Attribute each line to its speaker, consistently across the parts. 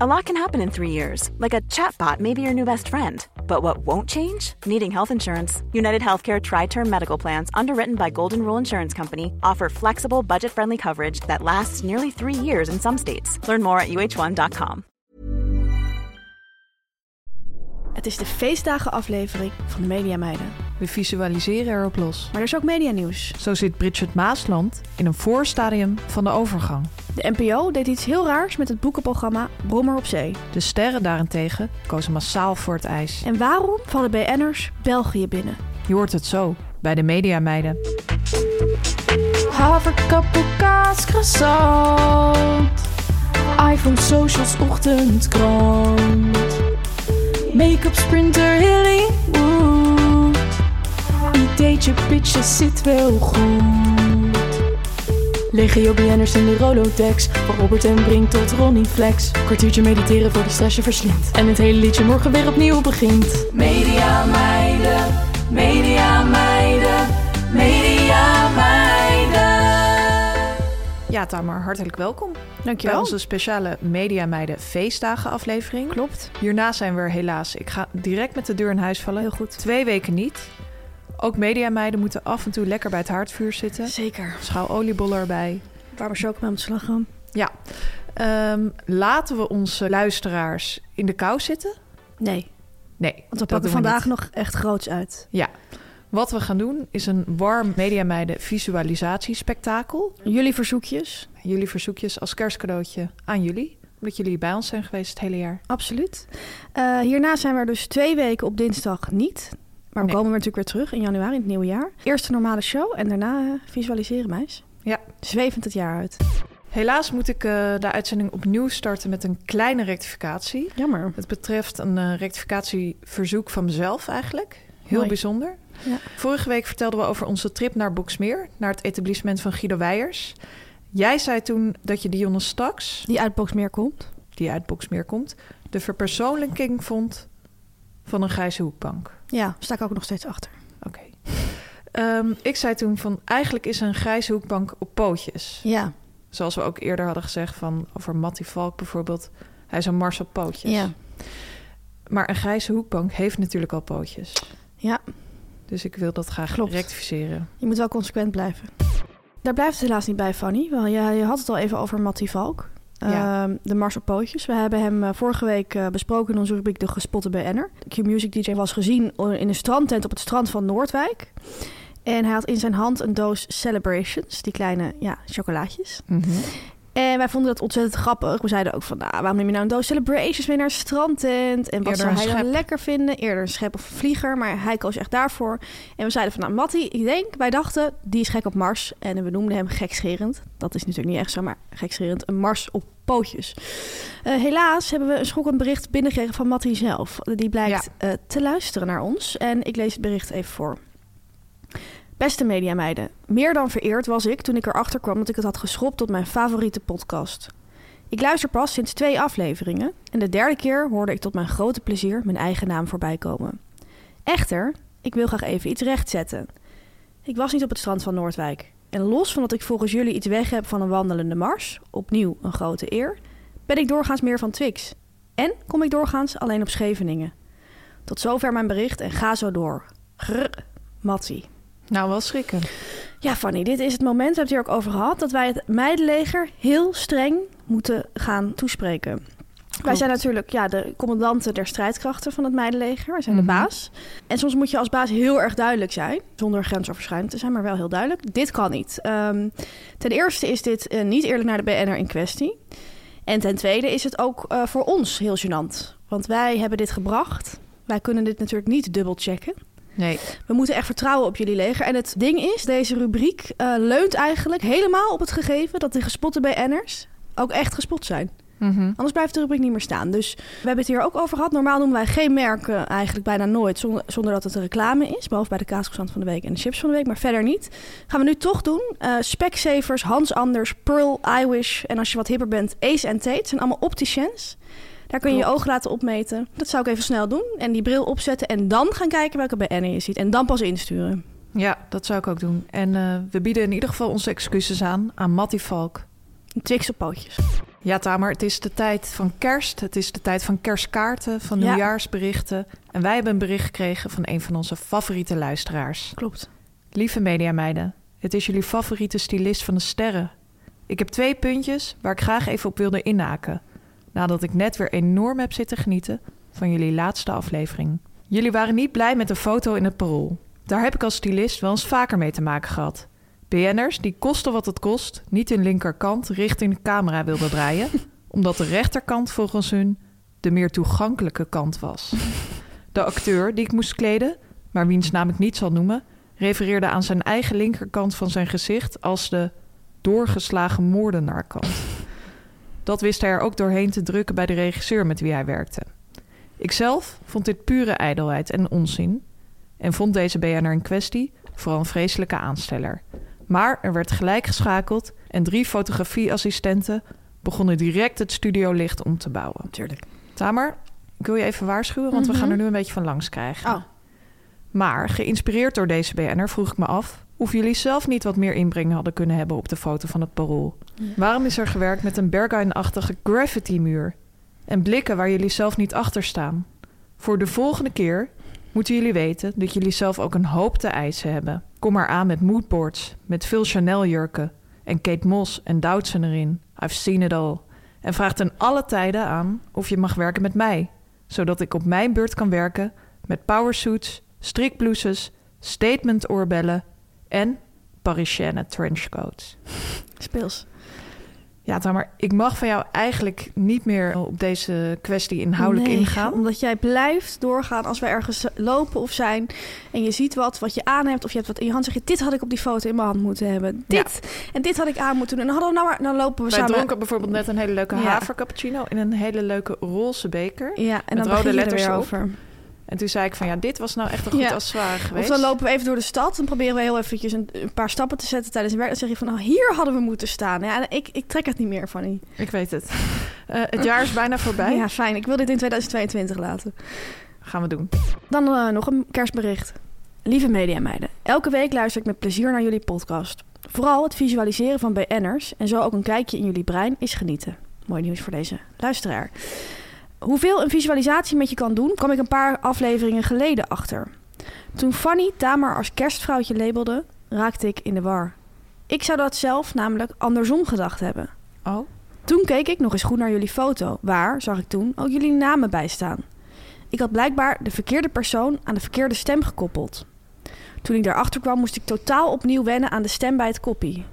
Speaker 1: A lot can happen in three years, like a chatbot may be your new best friend. But what won't change? Needing health insurance. United Healthcare Tri Term Medical Plans, underwritten by Golden Rule Insurance Company, offer flexible, budget friendly coverage that lasts nearly three years in some states. Learn more at uh1.com.
Speaker 2: Het is de feestdagenaflevering van de Media Meiden.
Speaker 3: We visualiseren erop los.
Speaker 2: Maar er is ook medianieuws.
Speaker 3: Zo zit Bridget Maasland in een voorstadium van de overgang.
Speaker 2: De NPO deed iets heel raars met het boekenprogramma Brommer op Zee.
Speaker 3: De sterren daarentegen kozen massaal voor het ijs.
Speaker 2: En waarom vallen BN'ers België binnen?
Speaker 3: Je hoort het zo bij de Mediameiden.
Speaker 4: Haverkappelkaas, croissant. iPhone, socials, ochtendkrant. Make-up, sprinter, Hollywood. Ideetje, pitje, zit wel goed. Legio BN'ers in de Rolodex. Van Robert en Brink tot Ronnie Flex. Kwartiertje mediteren voor de stress je verslindt. En het hele liedje morgen weer opnieuw begint. Media meiden, media meiden, media meiden.
Speaker 3: Ja, Tamer, hartelijk welkom. Bij
Speaker 2: Dankjewel.
Speaker 3: onze speciale Mediameiden feestdagen aflevering.
Speaker 2: Klopt.
Speaker 3: Hierna zijn we er helaas. Ik ga direct met de deur in huis vallen.
Speaker 2: Heel goed.
Speaker 3: Twee weken niet. Ook Mediameiden moeten af en toe lekker bij het haardvuur zitten.
Speaker 2: Zeker.
Speaker 3: Schouw oliebollen erbij.
Speaker 2: Warme chocomel met slagroom.
Speaker 3: Ja. Ehm, laten we onze luisteraars in de kou zitten?
Speaker 2: Nee,
Speaker 3: Nee.
Speaker 2: want we
Speaker 3: dat
Speaker 2: pakken
Speaker 3: doen we
Speaker 2: vandaag
Speaker 3: niet.
Speaker 2: nog echt groots uit.
Speaker 3: Ja. Wat we gaan doen is een warm Mediameiden visualisatiespektakel.
Speaker 2: Jullie verzoekjes?
Speaker 3: Jullie verzoekjes als kerstcadeautje aan jullie. Omdat jullie bij ons zijn geweest het hele jaar.
Speaker 2: Absoluut. Eh, hierna zijn we er dus twee weken op dinsdag niet. Maar we
Speaker 3: Nee.
Speaker 2: komen weer natuurlijk weer terug in januari, in het nieuwe jaar. Eerst een normale show en daarna eh, visualiseren, meis.
Speaker 3: Ja.
Speaker 2: Zwevend het jaar uit.
Speaker 3: Helaas moet ik eh, de uitzending opnieuw starten met een kleine rectificatie.
Speaker 2: Jammer.
Speaker 3: Het betreft een eh, rectificatieverzoek van mezelf eigenlijk. Heel
Speaker 2: Mooi.
Speaker 3: bijzonder.
Speaker 2: Ja.
Speaker 3: Vorige week vertelden we over onze trip naar Boksmeer. Naar het etablissement van Guido Weijers. Jij zei toen dat je Dionne Staks,
Speaker 2: Die uitbox meer komt.
Speaker 3: die uit Boksmeer komt... de verpersoonlijking vond van een grijze hoekbank.
Speaker 2: Ja, sta ik ook nog steeds achter.
Speaker 3: Oké. Ehm, ik zei toen van eigenlijk is een grijze hoekbank op pootjes.
Speaker 2: Ja,
Speaker 3: Zoals we ook eerder hadden gezegd van over Mattie Valk bijvoorbeeld. Hij is een mars op pootjes.
Speaker 2: ja,
Speaker 3: Maar een grijze hoekbank heeft natuurlijk al pootjes.
Speaker 2: ja.
Speaker 3: Dus ik wil dat graag
Speaker 2: Klopt.
Speaker 3: rectificeren.
Speaker 2: Je moet wel consequent blijven. Daar blijft het helaas niet bij, Fanny. Wel, je, je had het al even over Mattie Valk.
Speaker 3: Ja.
Speaker 2: Ehm, de Mars op Pootjes. We hebben hem eh, vorige week eh, besproken in onze rubriek De Gespotte BN'er. De Q-Music DJ was gezien in een strandtent op het strand van Noordwijk. En hij had in zijn hand een doos Celebrations, die kleine ja, chocolaatjes. En wij vonden dat ontzettend grappig. We zeiden ook van, nou, waarom neem je nou een doos Celebrations mee naar een strandtent? En wat
Speaker 3: Eerder
Speaker 2: zou
Speaker 3: een
Speaker 2: hij dan
Speaker 3: schep.
Speaker 2: lekker vinden? Eerder een schep of een vlieger, maar hij koos echt daarvoor. En we zeiden van, nou, Mattie, ik denk, wij dachten, die is gek op Mars. En we noemden hem gekscherend. Dat is natuurlijk niet echt zo, maar gekscherend. Een Mars op pootjes. Eh, helaas hebben we een schokkend bericht binnengekregen van Mattie zelf. Die blijkt eh, te luisteren naar ons. En ik lees het bericht even voor. Beste mediameiden, meer dan vereerd was ik toen ik erachter kwam dat ik het had geschopt tot mijn favoriete podcast. Ik luister pas sinds twee afleveringen en de derde keer hoorde ik tot mijn grote plezier mijn eigen naam voorbij komen. Echter, ik wil graag even iets rechtzetten. Ik was niet op het strand van Noordwijk. En los van dat ik volgens jullie iets weg heb van een wandelende mars, opnieuw een grote eer, ben ik doorgaans meer van Twix. En kom ik doorgaans alleen op Scheveningen. Tot zover mijn bericht en ga zo door. Grrr, Mattie.
Speaker 3: Nou, wel schrikken.
Speaker 2: Ja, Fanny, dit is het moment, we hebben het hier ook over gehad, dat wij het meidenleger heel streng moeten gaan toespreken. Wij zijn natuurlijk ja, de commandanten der strijdkrachten van het meidenleger. Wij zijn
Speaker 3: Mhm.
Speaker 2: de baas. En soms moet je als baas heel erg duidelijk zijn, zonder grensoverschrijdend te zijn, maar wel heel duidelijk. Dit kan niet. Ehm, ten eerste is dit eh, niet eerlijk naar de BN'er in kwestie. En ten tweede is het ook eh, voor ons heel gênant. Want wij hebben dit gebracht. Wij kunnen dit natuurlijk niet dubbelchecken.
Speaker 3: Nee.
Speaker 2: We moeten echt vertrouwen op jullie leger. En het ding is, deze rubriek eh, leunt eigenlijk helemaal op het gegeven dat de gespotte BN'ers ook echt gespot zijn.
Speaker 3: Mhm.
Speaker 2: Anders blijft de rubriek niet meer staan. Dus we hebben het hier ook over gehad. Normaal noemen wij geen merken eigenlijk bijna nooit zonder, zonder dat het een reclame is. Behalve bij de kaasgezant van de week en de chips van de week, maar verder niet. Gaan we nu toch doen. Eh Specsavers, Hans Anders, Pearl, iWish en als je wat hipper bent, Ace en Tate. zijn allemaal opticiens. Daar kun je je ogen laten opmeten. Dat zou ik even snel doen. En die bril opzetten en dan gaan kijken welke BN je ziet. En dan pas insturen.
Speaker 3: Ja, dat zou ik ook doen. En eh, we bieden in ieder geval onze excuses aan aan Mattie Valk.
Speaker 2: Een Twix op pootjes.
Speaker 3: Ja, Tamer, het is de tijd van kerst. Het is de tijd van kerstkaarten, van
Speaker 2: Ja.
Speaker 3: nieuwjaarsberichten. En wij hebben een bericht gekregen van een van onze favoriete luisteraars.
Speaker 2: Klopt.
Speaker 3: Lieve mediameiden, het is jullie favoriete stylist van de sterren. Ik heb twee puntjes waar ik graag even op wilde inhaken. Nadat ik net weer enorm heb zitten genieten van jullie laatste aflevering. Jullie waren niet blij met een foto in het parool. Daar heb ik als stylist wel eens vaker mee te maken gehad. BN'ers die kosten wat het kost niet hun linkerkant richting de camera wilden draaien... omdat de rechterkant volgens hun de meer toegankelijke kant was. De acteur die ik moest kleden, maar wiens naam ik niet zal noemen, refereerde aan zijn eigen linkerkant van zijn gezicht als de doorgeslagen moordenaarkant. Dat wist hij er ook doorheen te drukken bij de regisseur met wie hij werkte. Ikzelf vond dit pure ijdelheid en onzin en vond deze BN'er in kwestie vooral een vreselijke aansteller. Maar er werd gelijk geschakeld en drie fotografieassistenten begonnen direct het studiolicht om te bouwen.
Speaker 2: Natuurlijk.
Speaker 3: Tamer, ik wil je even waarschuwen, want we gaan er nu een beetje van langs krijgen.
Speaker 2: Oh.
Speaker 3: Maar geïnspireerd door deze BN'er vroeg ik me af of jullie zelf niet wat meer inbreng hadden kunnen hebben op de foto van het parool. Waarom is er gewerkt met een Berghain-achtige graffiti-muur en blikken waar jullie zelf niet achter staan? Voor de volgende keer moeten jullie weten dat jullie zelf ook een hoop te eisen hebben. Kom maar aan met moodboards, met veel Chanel-jurken en Kate Moss en Doutzen erin. I've seen it all. En vraag ten alle tijden aan of je mag werken met mij, zodat ik op mijn beurt kan werken met powersuits, strikblouses, statement-oorbellen en Parisienne trenchcoats.
Speaker 2: Speels.
Speaker 3: Ja, Tamer, ik mag van jou eigenlijk niet meer op deze kwestie inhoudelijk
Speaker 2: Nee,
Speaker 3: ingaan.
Speaker 2: Omdat jij blijft doorgaan als wij ergens lopen of zijn. En je ziet wat, wat je aan hebt of je hebt wat in je hand. Zeg je, dit had ik op die foto in mijn hand moeten hebben.
Speaker 3: Ja.
Speaker 2: Dit. En dit had ik aan moeten doen. En hadden we nou maar, dan lopen we
Speaker 3: Wij
Speaker 2: samen.
Speaker 3: dronken bijvoorbeeld net een hele leuke
Speaker 2: Ja.
Speaker 3: havercappuccino in een hele leuke roze beker.
Speaker 2: Ja, en
Speaker 3: Met
Speaker 2: dan
Speaker 3: rode
Speaker 2: begin je er
Speaker 3: letters
Speaker 2: weer
Speaker 3: erop.
Speaker 2: over.
Speaker 3: En toen zei ik van ja, dit was nou echt een goed
Speaker 2: Ja.
Speaker 3: accessoire
Speaker 2: Of
Speaker 3: geweest.
Speaker 2: dan lopen we even door de stad. Dan proberen we heel eventjes een, een paar stappen te zetten tijdens het werk. Dan zeg je van, nou, hier hadden we moeten staan. Ja, en ik, ik trek het niet meer, Fanny.
Speaker 3: Ik weet het. Eh, het jaar is bijna voorbij.
Speaker 2: Ja, fijn. Ik wil dit in 2022 laten.
Speaker 3: Gaan we doen.
Speaker 2: Dan eh, nog een kerstbericht. Lieve mediameiden, elke week luister ik met plezier naar jullie podcast. Vooral het visualiseren van BN'ers en zo ook een kijkje in jullie brein is genieten. Mooi nieuws voor deze luisteraar. Hoeveel een visualisatie met je kan doen, kwam ik een paar afleveringen geleden achter. Toen Fanny Tamer als kerstvrouwtje labelde, raakte ik in de war. Ik zou dat zelf namelijk andersom gedacht hebben.
Speaker 3: Oh,
Speaker 2: Toen keek ik nog eens goed naar jullie foto, waar, zag ik toen, ook jullie namen bij staan. Ik had blijkbaar de verkeerde persoon aan de verkeerde stem gekoppeld. Toen ik daarachter kwam, moest ik totaal opnieuw wennen aan de stem bij het koppie.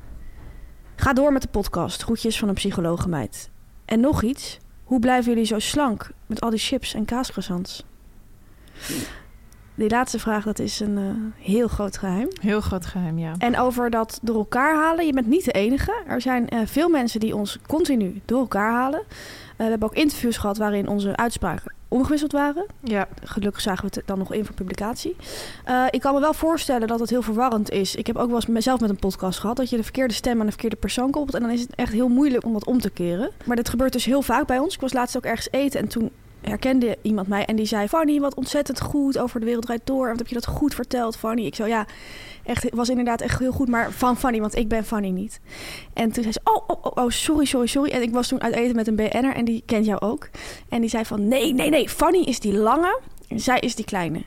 Speaker 2: Ga door met de podcast, groetjes van een psychologenmeid. En nog iets, hoe blijven jullie zo slank met al die chips en kaascroissants? Die laatste vraag, dat is een eh, heel groot geheim.
Speaker 3: heel groot geheim, ja.
Speaker 2: En over dat door elkaar halen, je bent niet de enige. Er zijn eh, veel mensen die ons continu door elkaar halen. Eh, we hebben ook interviews gehad waarin onze uitspraken omgewisseld waren.
Speaker 3: Ja,
Speaker 2: Gelukkig zagen we het er dan nog in voor publicatie. Eh, ik kan me wel voorstellen dat het heel verwarrend is. Ik heb ook wel eens mezelf met een podcast gehad dat je de verkeerde stem aan de verkeerde persoon koppelt. En dan is het echt heel moeilijk om dat om te keren. Maar dit gebeurt dus heel vaak bij ons. Ik was laatst ook ergens eten en toen herkende iemand mij en die zei: Fanny, wat ontzettend goed over de wereld draait door. Wat heb je dat goed verteld, Fanny? Ik zo ja, echt het was inderdaad echt heel goed, maar van Fanny, want ik ben Fanny niet. En toen zei ze: oh, oh, oh, oh, sorry, sorry, sorry. En ik was toen uit eten met een BN'er en die kent jou ook. En die zei van: Nee, nee, nee, Fanny is die lange en zij is die kleine.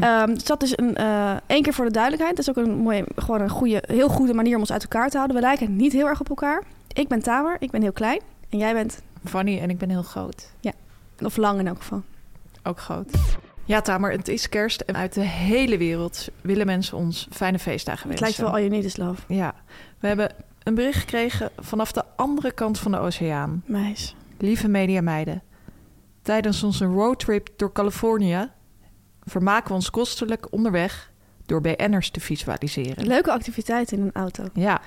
Speaker 2: Ehm dus dat is een, eh één keer voor de duidelijkheid. Dat is ook een, mooie, gewoon een goede, heel goede manier om ons uit elkaar te houden. We lijken niet heel erg op elkaar. Ik ben Tamer, ik ben heel klein. En jij bent,
Speaker 3: Fanny en ik ben heel groot.
Speaker 2: of lang in elk geval.
Speaker 3: Ook groot. Ja, Tamer, het is kerst en uit de hele wereld willen mensen ons fijne feestdagen
Speaker 2: Het
Speaker 3: wensen.
Speaker 2: lijkt wel All You Need Is Love.
Speaker 3: Ja, we hebben een bericht gekregen vanaf de andere kant van de oceaan.
Speaker 2: Meis.
Speaker 3: Lieve mediameiden, tijdens onze roadtrip door Californië vermaken we ons kostelijk onderweg door BN'ers te visualiseren.
Speaker 2: Leuke activiteit in een auto.
Speaker 3: Ja,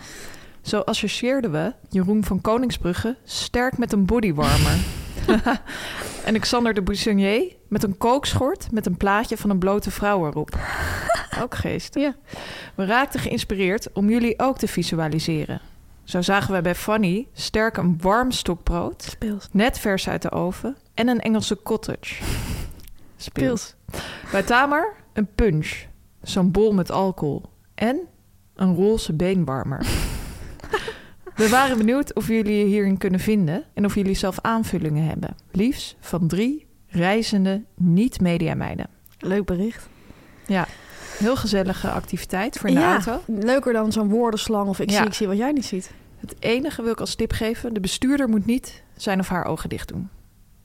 Speaker 3: Zo associeerden we Jeroen van Koningsbrugge sterk met een bodywarmer. en Xander de Boussonnier met een kookschort met een plaatje van een blote vrouw erop. Ook geest.
Speaker 2: Ja.
Speaker 3: We raakten geïnspireerd om jullie ook te visualiseren. Zo zagen we bij Fanny sterk een warm stokbrood,
Speaker 2: Speels.
Speaker 3: net vers uit de oven, en een Engelse cottage.
Speaker 2: Speels.
Speaker 3: Bij Tamer een punch, zo'n bol met alcohol en een roze beenwarmer. We waren benieuwd of jullie je hierin kunnen vinden en of jullie zelf aanvullingen hebben. Liefst van drie reizende niet-mediameiden.
Speaker 2: Leuk bericht.
Speaker 3: Ja, heel gezellige activiteit voor in de
Speaker 2: ja,
Speaker 3: auto.
Speaker 2: leuker dan zo'n woordenslang of ik
Speaker 3: Ja.
Speaker 2: zie, ik zie wat jij niet ziet.
Speaker 3: Het enige wil ik als tip geven: de bestuurder moet niet zijn of haar ogen dicht doen.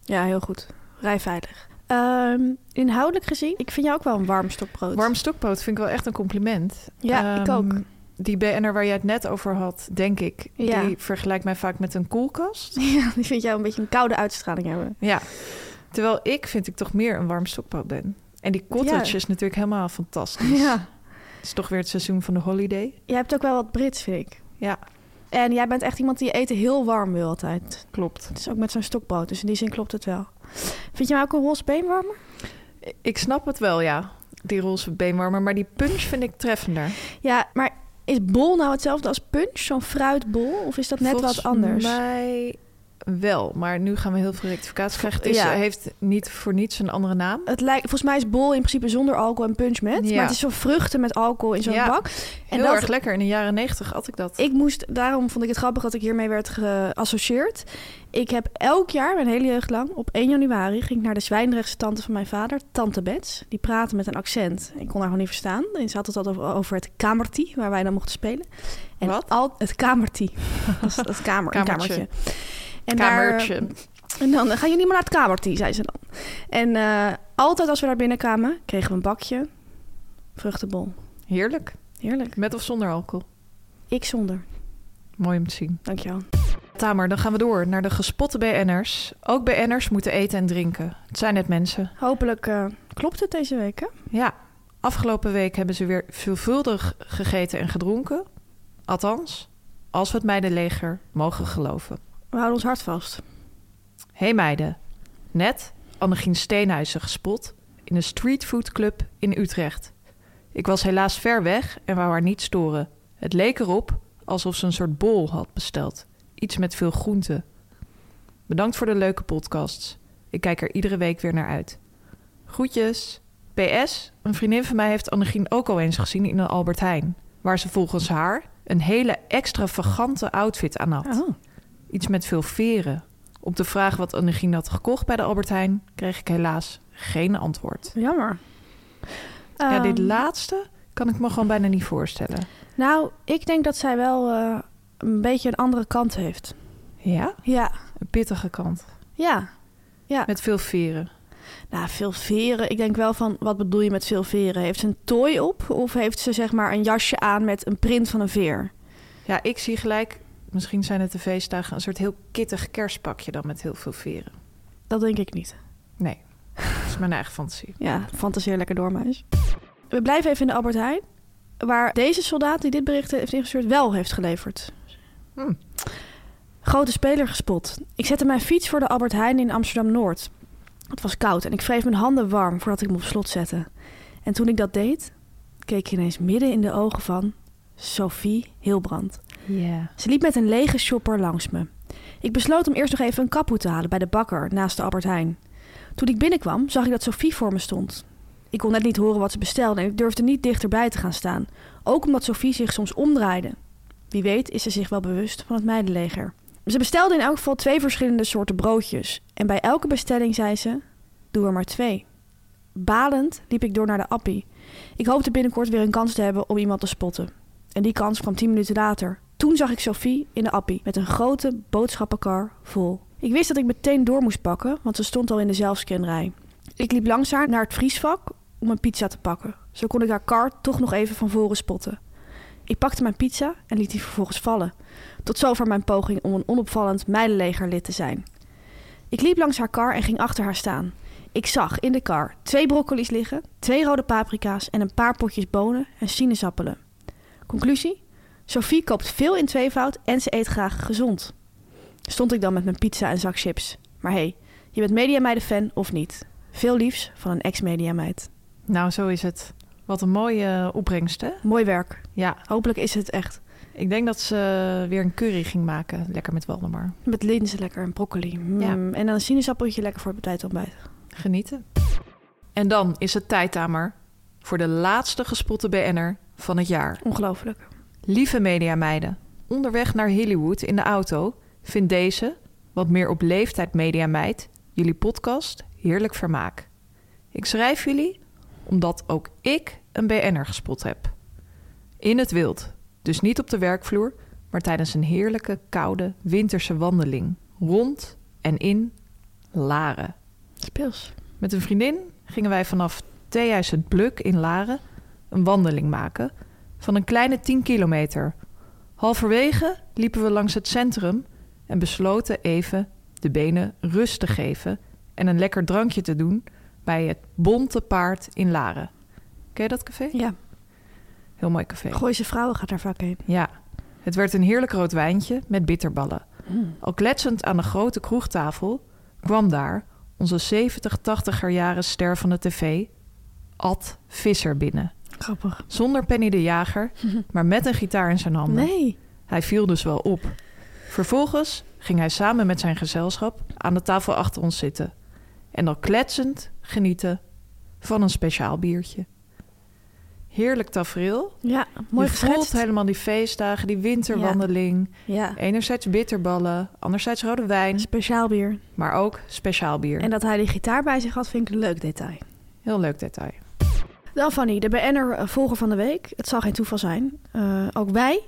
Speaker 2: Ja, heel goed. Rij veilig. Ehm, inhoudelijk gezien, ik vind jou ook wel een warm stokbrood.
Speaker 3: Warm stokpoot vind ik wel echt een compliment.
Speaker 2: Ja, ik ook.
Speaker 3: Ehm, Die BN'er waar jij het net over had, denk ik,
Speaker 2: Ja.
Speaker 3: die vergelijkt mij vaak met een koelkast.
Speaker 2: Ja, die vind jou een beetje een koude uitstraling hebben.
Speaker 3: Ja. Terwijl ik vind ik toch meer een warm stokpoot ben. En die cottage
Speaker 2: Ja.
Speaker 3: is natuurlijk helemaal fantastisch. Het is toch weer het seizoen van de holiday.
Speaker 2: Jij hebt ook wel wat Brits, vind ik.
Speaker 3: Ja,
Speaker 2: En jij bent echt iemand die eten heel warm wil altijd.
Speaker 3: klopt.
Speaker 2: Het is ook met zo'n stokbrood, dus in die zin klopt het wel. Vind je mij ook een roze beenwarmer?
Speaker 3: Ik snap het wel, ja. Die roze beenwarmer, maar die punch vind ik treffender.
Speaker 2: Ja, maar is bol nou hetzelfde als punch, zo'n fruitbol? Of is dat net
Speaker 3: Volgens
Speaker 2: wat anders?
Speaker 3: mij wel, maar nu gaan we heel veel rectificaties krijgen. Het is,
Speaker 2: Ja.
Speaker 3: heeft niet voor niets een andere naam.
Speaker 2: Het lijkt, volgens mij is bol in principe zonder alcohol en punch met.
Speaker 3: Ja.
Speaker 2: Maar het is zo'n vruchten met alcohol in zo'n
Speaker 3: Ja.
Speaker 2: bak. En
Speaker 3: Heel
Speaker 2: dat,
Speaker 3: erg lekker. In de jaren negentig had ik dat.
Speaker 2: Ik moest, daarom vond ik het grappig dat ik hiermee werd geassocieerd. Ik heb elk jaar, mijn hele jeugd lang, op 1 januari ging ik naar de Zwijndrechtse tante van mijn vader, tante Bets. Die praatte met een accent. Ik kon haar gewoon niet verstaan. En ze had het altijd over, over het kamertie, waar wij dan mochten spelen. En
Speaker 3: Wat?
Speaker 2: Al, het kamertie. Dat is dat kamer, een
Speaker 3: Kamertje.
Speaker 2: kamertje. En daar, eh,
Speaker 3: Kamertje.
Speaker 2: en dan eh, gaan jullie maar naar het kamertie, zei ze dan. En eh, altijd als we daar binnenkwamen, kregen we een bakje vruchtenbol.
Speaker 3: Heerlijk.
Speaker 2: Heerlijk.
Speaker 3: Met of zonder alcohol.
Speaker 2: Ik zonder.
Speaker 3: Mooi om te zien.
Speaker 2: Dankjewel.
Speaker 3: Tamer, dan gaan we door naar de gespotte BN'ers. Ook BN'ers moeten eten en drinken. Het zijn net mensen.
Speaker 2: Hopelijk eh, klopt het deze week, hè?
Speaker 3: Ja, afgelopen week hebben ze weer veelvuldig gegeten en gedronken. Althans, als we het meidenleger mogen geloven.
Speaker 2: We houden ons hart vast.
Speaker 3: Hey meiden, net Annegien Steenhuizen gespot in een streetfoodclub in Utrecht. Ik was helaas ver weg en wou haar niet storen. Het leek erop alsof ze een soort bol had besteld. Iets met veel groenten. Bedankt voor de leuke podcasts. Ik kijk er iedere week weer naar uit. Groetjes. PS, een vriendin van mij heeft Annegien ook al eens gezien in een Albert Heijn. Waar ze volgens haar een hele extravagante outfit aan had. Iets met veel veren. Op de vraag wat Annegien had gekocht bij de Albert Heijn... kreeg ik helaas geen antwoord.
Speaker 2: Jammer.
Speaker 3: ja,
Speaker 2: Ehm,
Speaker 3: dit laatste kan ik me gewoon bijna niet voorstellen.
Speaker 2: Nou, ik denk dat zij wel eh, een beetje een andere kant heeft.
Speaker 3: Ja?
Speaker 2: Ja.
Speaker 3: Een pittige kant.
Speaker 2: Ja.
Speaker 3: Met veel veren.
Speaker 2: Nou, veel veren. Ik denk wel van, wat bedoel je met veel veren? Heeft ze een tooi op of heeft ze zeg maar een jasje aan met een print van een veer?
Speaker 3: Ja, ik zie gelijk... Misschien zijn het de feestdagen een soort heel kittig kerstpakje dan met heel veel veren.
Speaker 2: Dat denk ik niet.
Speaker 3: Nee, dat is mijn eigen fantasie.
Speaker 2: Ja, fantaseer lekker door, meis. We blijven even in de Albert Heijn, waar deze soldaat die dit bericht heeft ingestuurd wel heeft geleverd.
Speaker 3: Hm.
Speaker 2: Grote speler gespot. Ik zette mijn fiets voor de Albert Heijn in Amsterdam-Noord. Het was koud en ik wreef mijn handen warm voordat ik hem op slot zette. En toen ik dat deed, keek ik ineens midden in de ogen van Sophie Hilbrand.
Speaker 3: Ja.
Speaker 2: Ze liep met een lege shopper langs me. Ik besloot om eerst nog even een kappoe te halen bij de bakker naast de Albert Heijn. Toen ik binnenkwam, zag ik dat Sophie voor me stond. Ik kon net niet horen wat ze bestelde en ik durfde niet dichterbij te gaan staan. Ook omdat Sophie zich soms omdraaide. Wie weet is ze zich wel bewust van het meidenleger. Ze bestelde in elk geval twee verschillende soorten broodjes. En bij elke bestelling zei ze, doe er maar twee. Balend liep ik door naar de appie. Ik hoopte binnenkort weer een kans te hebben om iemand te spotten. En die kans kwam tien minuten later. Toen zag ik Sophie in de appie met een grote boodschappenkar vol. Ik wist dat ik meteen door moest pakken, want ze stond al in de zelfscanrij. Ik liep langs haar naar het vriesvak om een pizza te pakken. Zo kon ik haar kar toch nog even van voren spotten. Ik pakte mijn pizza en liet die vervolgens vallen. Tot zover mijn poging om een onopvallend meidenlegerlid te zijn. Ik liep langs haar kar en ging achter haar staan. Ik zag in de kar twee broccoli's liggen, twee rode paprika's en een paar potjes bonen en sinaasappelen. Conclusie? Sophie koopt veel in tweevoud en ze eet graag gezond. Stond ik dan met mijn pizza en zak chips. Maar hé, hey, je bent Mediameiden-fan of niet? Veel liefs van een ex-Mediameid.
Speaker 3: Nou, zo is het. Wat een mooie opbrengst, hè?
Speaker 2: Mooi werk.
Speaker 3: Ja,
Speaker 2: Hopelijk is het echt.
Speaker 3: ik denk dat ze weer een curry ging maken. Lekker met Waldemar.
Speaker 2: Met linzen lekker en broccoli. Mm,
Speaker 3: Ja.
Speaker 2: En dan een sinaasappeltje lekker voor het bijtontbijt.
Speaker 3: Genieten. En dan is het tijd, Tamer, voor de laatste gespotte BN'er van het jaar.
Speaker 2: Ongelooflijk.
Speaker 3: Lieve mediameiden, onderweg naar Hollywood in de auto vindt deze, wat meer op leeftijd mediameid, jullie podcast heerlijk vermaak. Ik schrijf jullie omdat ook ik een BN'er gespot heb. In het wild, dus niet op de werkvloer, maar tijdens een heerlijke, koude, winterse wandeling. Rond en in Laren.
Speaker 2: Speels.
Speaker 3: Met een vriendin gingen wij vanaf Theehuis het Bluk in Laren een wandeling maken van een kleine 10 kilometer. Halverwege liepen we langs het centrum en besloten even de benen rust te geven en een lekker drankje te doen bij het Bonte Paard in Laren. Ken je dat café?
Speaker 2: Ja.
Speaker 3: Heel mooi café.
Speaker 2: Gooise vrouwen gaat daar vaak heen.
Speaker 3: Ja, het werd een heerlijk rood wijntje met bitterballen. Al kletsend aan de grote kroegtafel kwam daar onze 70, 80er jaren ster van de tv, Ad Visser binnen.
Speaker 2: Grappig.
Speaker 3: Zonder Penny de Jager, maar met een gitaar in zijn handen.
Speaker 2: Nee.
Speaker 3: Hij viel dus wel op. Vervolgens ging hij samen met zijn gezelschap aan de tafel achter ons zitten. En al kletsend genieten van een speciaal biertje. Heerlijk tafereel,
Speaker 2: Ja, mooi
Speaker 3: je voelt
Speaker 2: geschetst.
Speaker 3: helemaal die feestdagen, die winterwandeling.
Speaker 2: Ja.
Speaker 3: Enerzijds bitterballen, anderzijds rode wijn,
Speaker 2: Speciaal bier.
Speaker 3: maar ook speciaal bier.
Speaker 2: En dat hij die gitaar bij zich had, vind ik een leuk detail.
Speaker 3: Heel leuk detail.
Speaker 2: Dan Fanny, de BN'er volger van de week. Het zal geen toeval zijn. Eh, ook wij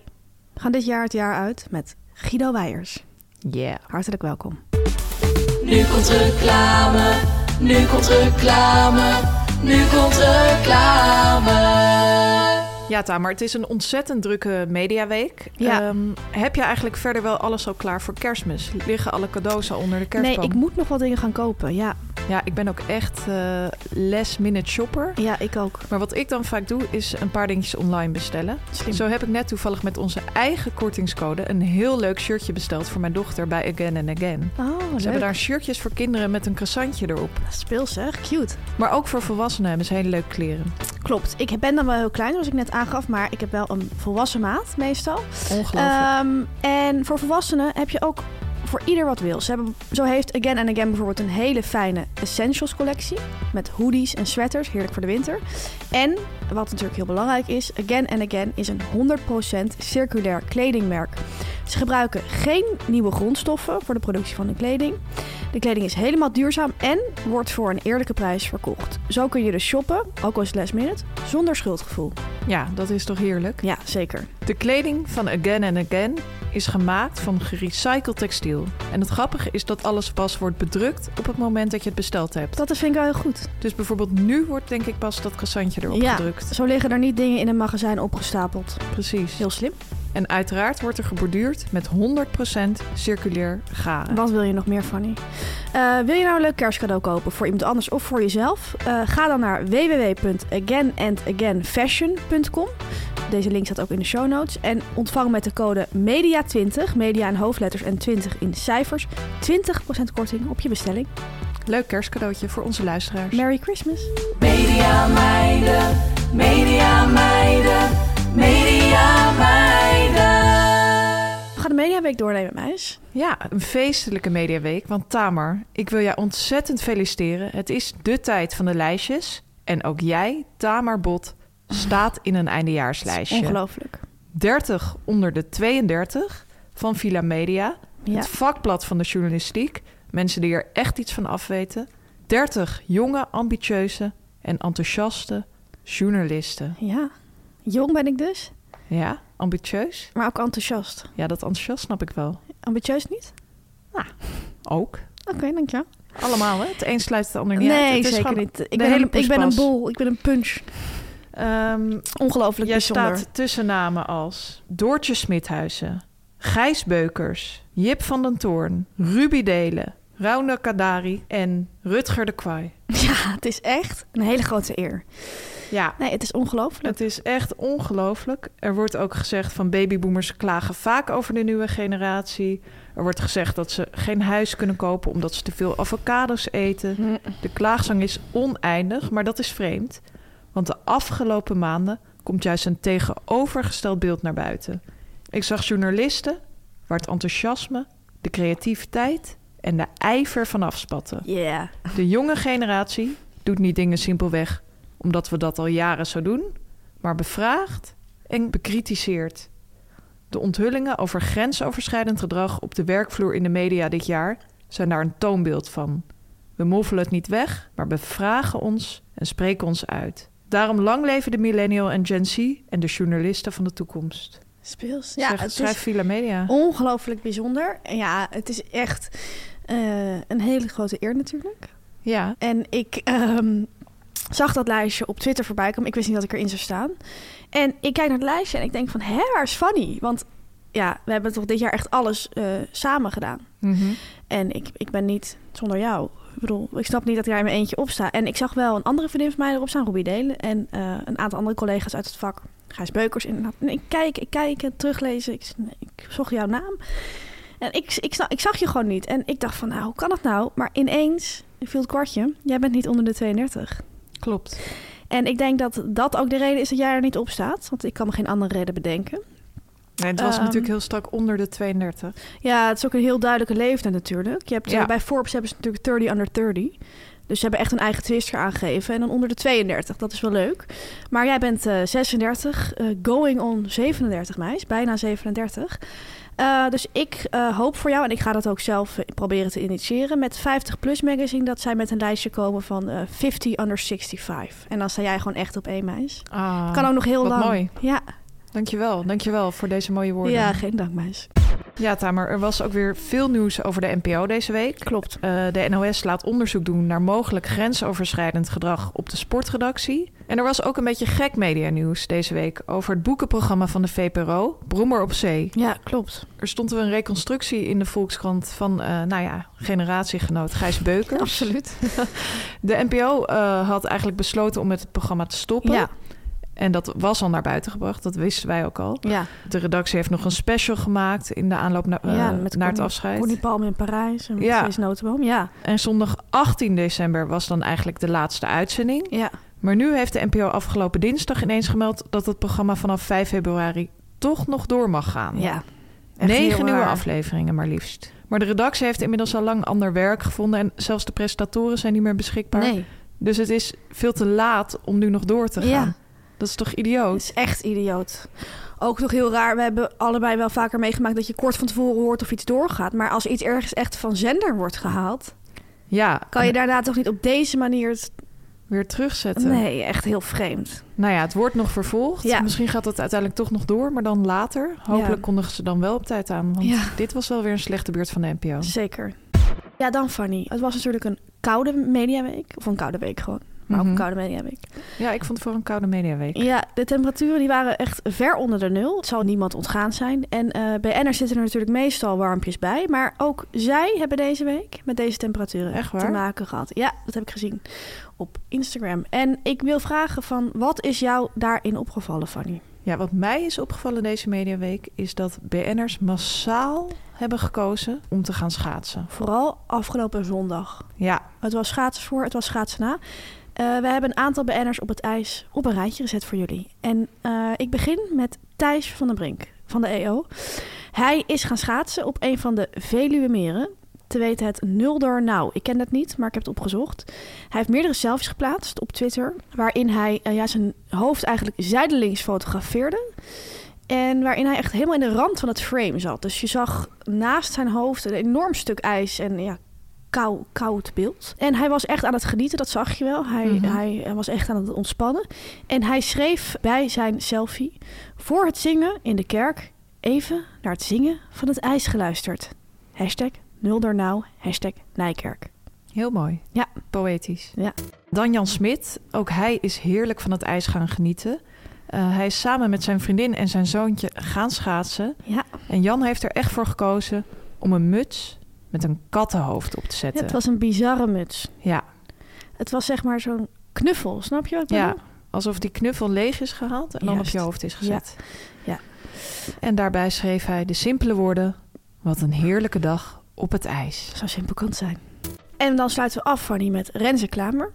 Speaker 2: gaan dit jaar het jaar uit met Guido Weijers.
Speaker 3: Yeah.
Speaker 2: Hartelijk welkom.
Speaker 4: Nu komt reclame, nu komt reclame, nu komt reclame.
Speaker 3: Ja, Tamer, het is een ontzettend drukke mediaweek.
Speaker 2: Ja.
Speaker 3: Ehm, heb je eigenlijk verder wel alles al klaar voor kerstmis? Liggen alle cadeaus al onder de
Speaker 2: Nee,
Speaker 3: kerstboom?
Speaker 2: ik moet nog wat dingen gaan kopen. Ja,
Speaker 3: Ja, ik ben ook echt eh last minute shopper.
Speaker 2: ja ik ook.
Speaker 3: Maar wat ik dan vaak doe, is een paar dingetjes online bestellen.
Speaker 2: Slim.
Speaker 3: Zo heb ik net toevallig met onze eigen kortingscode een heel leuk shirtje besteld voor mijn dochter bij Again and Again.
Speaker 2: Oh, leuk.
Speaker 3: Ze hebben daar shirtjes voor kinderen met een croissantje erop.
Speaker 2: Speels, zeg. Cute.
Speaker 3: Maar ook voor volwassenen hebben ze hele leuke kleren.
Speaker 2: Klopt. Ik ben dan wel heel klein, zoals ik net aangaf. Maar ik heb wel een volwassen maat, meestal.
Speaker 3: Ongelooflijk.
Speaker 2: Ehm, en voor volwassenen heb je ook voor ieder wat wil. Ze hebben, zo heeft Again and Again bijvoorbeeld een hele fijne essentials collectie. Met hoodies en sweaters, heerlijk voor de winter. En, wat natuurlijk heel belangrijk is, Again and Again is een 100% circulair kledingmerk. Ze gebruiken geen nieuwe grondstoffen voor de productie van hun kleding. De kleding is helemaal duurzaam en wordt voor een eerlijke prijs verkocht. Zo kun je dus shoppen, ook al is het last minute, zonder schuldgevoel.
Speaker 3: ja, dat is toch heerlijk?
Speaker 2: Ja, zeker.
Speaker 3: De kleding van Again and Again is gemaakt van gerecycled textiel. En het grappige is dat alles pas wordt bedrukt op het moment dat je het besteld hebt.
Speaker 2: Dat vind ik wel heel goed.
Speaker 3: Dus bijvoorbeeld nu wordt denk ik pas dat croissantje erop
Speaker 2: Ja.
Speaker 3: gedrukt.
Speaker 2: Zo liggen er niet dingen in een magazijn opgestapeld.
Speaker 3: Precies.
Speaker 2: Heel slim.
Speaker 3: En uiteraard wordt er geborduurd met 100% circulair garen.
Speaker 2: Wat wil je nog meer, Fanny? Eh, wil je nou een leuk kerstcadeau kopen voor iemand anders of voor jezelf? Eh, ga dan naar www.againandagainfashion.com. Deze link staat ook in de show notes. En ontvang met de code MEDIA20, media in hoofdletters en 20 in cijfers, 20% korting op je bestelling.
Speaker 3: Leuk kerstcadeautje voor onze luisteraars.
Speaker 2: Merry Christmas!
Speaker 4: Media meiden, media meiden, media meiden.
Speaker 2: We gaan de Mediaweek doornemen, meis.
Speaker 3: Ja, een feestelijke mediaweek. Want Tamer, ik wil jou ontzettend feliciteren. Het is de tijd van de lijstjes. En ook jij, Tamer Bot, staat in een eindejaarslijstje.
Speaker 2: Ongelooflijk.
Speaker 3: 30 onder de 32 van Villa Media.
Speaker 2: Ja.
Speaker 3: Het vakblad van de journalistiek. Mensen die er echt iets van afweten. 30 jonge, ambitieuze en enthousiaste journalisten.
Speaker 2: ja. Jong ben ik dus,
Speaker 3: Ja, ambitieus?
Speaker 2: maar ook enthousiast.
Speaker 3: Ja, dat enthousiast snap ik wel.
Speaker 2: Ambitieus niet?
Speaker 3: Ook.
Speaker 2: Oké, dankjewel.
Speaker 3: Allemaal, hè? Het een sluit het ander niet uit.
Speaker 2: Nee,
Speaker 3: Het is
Speaker 2: zeker
Speaker 3: gewoon-
Speaker 2: niet. Ik
Speaker 3: de
Speaker 2: ben,
Speaker 3: hele
Speaker 2: een, ik ben een
Speaker 3: poespas.
Speaker 2: bol, ik ben een punch.
Speaker 3: Ehm,
Speaker 2: Ongelooflijk
Speaker 3: jij
Speaker 2: bijzonder.
Speaker 3: staat tussen namen als Doortje Smithuizen, Gijs Beukers, Jip van den Toorn, Ruby Delen, Rauna Kadari en Rutger de Kwaai.
Speaker 2: Ja, het is echt een hele grote eer.
Speaker 3: Ja,
Speaker 2: Nee, het is ongelooflijk.
Speaker 3: het is echt ongelooflijk. Er wordt ook gezegd van babyboomers klagen vaak over de nieuwe generatie. Er wordt gezegd dat ze geen huis kunnen kopen omdat ze te veel avocados eten. De klaagzang is oneindig, maar dat is vreemd. Want de afgelopen maanden komt juist een tegenovergesteld beeld naar buiten. Ik zag journalisten waar het enthousiasme, de creativiteit en de ijver van afspatten.
Speaker 2: Ja.
Speaker 3: De jonge generatie doet niet dingen simpelweg omdat we dat al jaren zo doen, maar bevraagt en bekritiseert. De onthullingen over grensoverschrijdend gedrag op de werkvloer in de media dit jaar zijn daar een toonbeeld van. We moffelen het niet weg, maar bevragen ons en spreken ons uit. Daarom lang leven de millennial en Gen Z en de journalisten van de toekomst.
Speaker 2: Speels.
Speaker 3: Ja,
Speaker 2: Ja,
Speaker 3: Zegt,
Speaker 2: het
Speaker 3: schrijf
Speaker 2: is
Speaker 3: Villa Media.
Speaker 2: ongelooflijk bijzonder. En ja, het is echt eh, een hele grote eer natuurlijk.
Speaker 3: Ja,
Speaker 2: En ik ehm, zag dat lijstje op Twitter voorbij komen. Ik wist niet dat ik erin zou staan. En ik kijk naar het lijstje en ik denk van, hè, waar is Fanny? Want ja, we hebben toch dit jaar echt alles eh, samen gedaan. En ik, ik ben niet zonder jou. Ik bedoel, ik snap niet dat ik daar in mijn eentje op sta. En ik zag wel een andere vriendin van mij erop staan, Robbie Delen. En eh, een aantal andere collega's uit het vak. Gijs Beukers inderdaad. En ik kijk, ik kijk en teruglezen. Ik, ik zocht jouw naam. En ik, ik, sna- ik zag je gewoon niet. En ik dacht van, nou, hoe kan dat nou? Maar ineens viel het kwartje. Jij bent niet onder de 32.
Speaker 3: klopt.
Speaker 2: En ik denk dat dat ook de reden is dat jij er niet op staat. Want ik kan me geen andere reden bedenken.
Speaker 3: Nee, het was
Speaker 2: Ehm.
Speaker 3: natuurlijk heel strak onder de 32.
Speaker 2: Ja, het is ook een heel duidelijke leeftijd natuurlijk. Je hebt,
Speaker 3: Ja.
Speaker 2: eh, bij Forbes hebben ze natuurlijk 30 under 30. Dus ze hebben echt een eigen twister aangegeven. En dan onder de 32, dat is wel leuk. Maar jij bent eh, 36, eh, going on 37 meis, bijna 37. Eh, dus ik eh, hoop voor jou, en ik ga dat ook zelf eh, proberen te initiëren... met 50 Plus Magazine, dat zij met een lijstje komen van eh, 50 under 65. En dan sta jij gewoon echt op één meis.
Speaker 3: Ah,
Speaker 2: kan ook nog heel
Speaker 3: wat
Speaker 2: lang.
Speaker 3: mooi.
Speaker 2: Ja.
Speaker 3: Dankjewel, dankjewel voor deze mooie woorden.
Speaker 2: ja, geen dank meis.
Speaker 3: Ja, Tamer, er was ook weer veel nieuws over de NPO deze week.
Speaker 2: Klopt.
Speaker 3: Eh, de NOS laat onderzoek doen naar mogelijk grensoverschrijdend gedrag op de sportredactie. En er was ook een beetje gek medianieuws deze week over het boekenprogramma van de VPRO, Brommer op Zee.
Speaker 2: Ja, klopt.
Speaker 3: Er stond weer een reconstructie in de Volkskrant van, eh, nou ja, generatiegenoot Gijs Beukers.
Speaker 2: Absoluut.
Speaker 3: De NPO eh, had eigenlijk besloten om met het programma te stoppen.
Speaker 2: Ja,
Speaker 3: En dat was al naar buiten gebracht, dat wisten wij ook al.
Speaker 2: ja.
Speaker 3: De redactie heeft nog een special gemaakt in de aanloop na- eh,
Speaker 2: Ja,
Speaker 3: naar
Speaker 2: met
Speaker 3: het
Speaker 2: Connie-
Speaker 3: afscheid.
Speaker 2: Connie Palm in Parijs en met
Speaker 3: Ja.
Speaker 2: Kees Notenboom. Ja,
Speaker 3: En zondag 18 december was dan eigenlijk de laatste uitzending.
Speaker 2: ja.
Speaker 3: Maar nu heeft de NPO afgelopen dinsdag ineens gemeld dat het programma vanaf 5 februari toch nog door mag gaan.
Speaker 2: ja. Echt heel
Speaker 3: Oh, Negen nieuwe
Speaker 2: raar.
Speaker 3: afleveringen maar liefst. Maar de redactie heeft inmiddels al lang ander werk gevonden en zelfs de presentatoren zijn niet meer beschikbaar.
Speaker 2: Nee,
Speaker 3: Dus het is veel te laat om nu nog door te gaan.
Speaker 2: Ja.
Speaker 3: Dat is toch
Speaker 2: het
Speaker 3: idioot?
Speaker 2: is echt idioot. Ook nog heel raar. We hebben allebei wel vaker meegemaakt dat je kort van tevoren hoort of iets doorgaat. Maar als iets ergens echt van zender wordt gehaald,
Speaker 3: Ja, eh,
Speaker 2: kan je daarna toch niet op deze manier. het-
Speaker 3: weer terugzetten.
Speaker 2: Nee, echt heel vreemd.
Speaker 3: Nou ja, het wordt nog vervolgd.
Speaker 2: Ja.
Speaker 3: Misschien gaat het uiteindelijk toch nog door, maar dan later. Hopelijk
Speaker 2: Ja.
Speaker 3: kondigen ze dan wel op tijd aan. Want
Speaker 2: Ja.
Speaker 3: dit was wel weer een slechte beurt van de NPO.
Speaker 2: Zeker. Ja, dan Fanny. Het was natuurlijk een koude mediaweek. Of een koude week gewoon. Maar ook
Speaker 3: Mhm.
Speaker 2: een koude mediaweek.
Speaker 3: Ja, ik vond het voor een koude mediaweek.
Speaker 2: Ja, de temperaturen die waren echt ver onder de nul. Het
Speaker 3: Mhm.
Speaker 2: zal niemand ontgaan zijn. En eh BN'ers zitten er natuurlijk meestal warmpjes bij. Maar ook zij hebben deze week met deze temperaturen
Speaker 3: Echt waar?
Speaker 2: te maken gehad. Ja, dat heb ik gezien op Instagram. En ik wil vragen van, wat is jou daarin opgevallen, Fanny?
Speaker 3: Ja, wat mij is opgevallen deze mediaweek is dat BN'ers massaal hebben gekozen om te gaan schaatsen.
Speaker 2: Vooral afgelopen zondag.
Speaker 3: Ja,
Speaker 2: Het was schaatsen voor, het was schaatsen na. Eh, we hebben een aantal BN'ers op het ijs op een rijtje gezet voor jullie. En eh, ik begin met Thijs van den Brink van de EO. Hij is gaan schaatsen op een van de Veluwe meren. Te weten het Nulder Nou. Ik ken dat niet, maar ik heb het opgezocht. Hij heeft meerdere selfies geplaatst op Twitter. Waarin hij eh, ja, zijn hoofd eigenlijk zijdelings fotografeerde. En waarin hij echt helemaal in de rand van het frame zat. Dus je zag naast zijn hoofd een enorm stuk ijs en ja, kou, koud beeld. En hij was echt aan het genieten, dat zag je wel. Hij, hij eh, was echt aan het ontspannen. En hij schreef bij zijn selfie... Voor het zingen in de kerk even naar het zingen van het ijs geluisterd. Hashtag Nuldernauw, hashtag Nijkerk.
Speaker 3: heel mooi.
Speaker 2: Ja.
Speaker 3: Poëtisch.
Speaker 2: Ja.
Speaker 3: Dan Jan Smit. Ook hij is heerlijk van het ijs gaan genieten. Eh, hij is samen met zijn vriendin en zijn zoontje gaan schaatsen.
Speaker 2: Ja,
Speaker 3: En Jan heeft er echt voor gekozen om een muts met een kattenhoofd op te zetten.
Speaker 2: het was een bizarre muts.
Speaker 3: Ja,
Speaker 2: Het was zeg maar zo'n knuffel, snap je wat ik
Speaker 3: ja.
Speaker 2: bedoel?
Speaker 3: Alsof die knuffel leeg is gehaald en dan op
Speaker 2: Juist.
Speaker 3: je hoofd is gezet.
Speaker 2: Ja.
Speaker 3: En daarbij schreef hij de simpele woorden... Wat een heerlijke dag op het ijs.
Speaker 2: Zo simpel kan het zijn. En dan sluiten we af, Fanny, met Renze Klamer.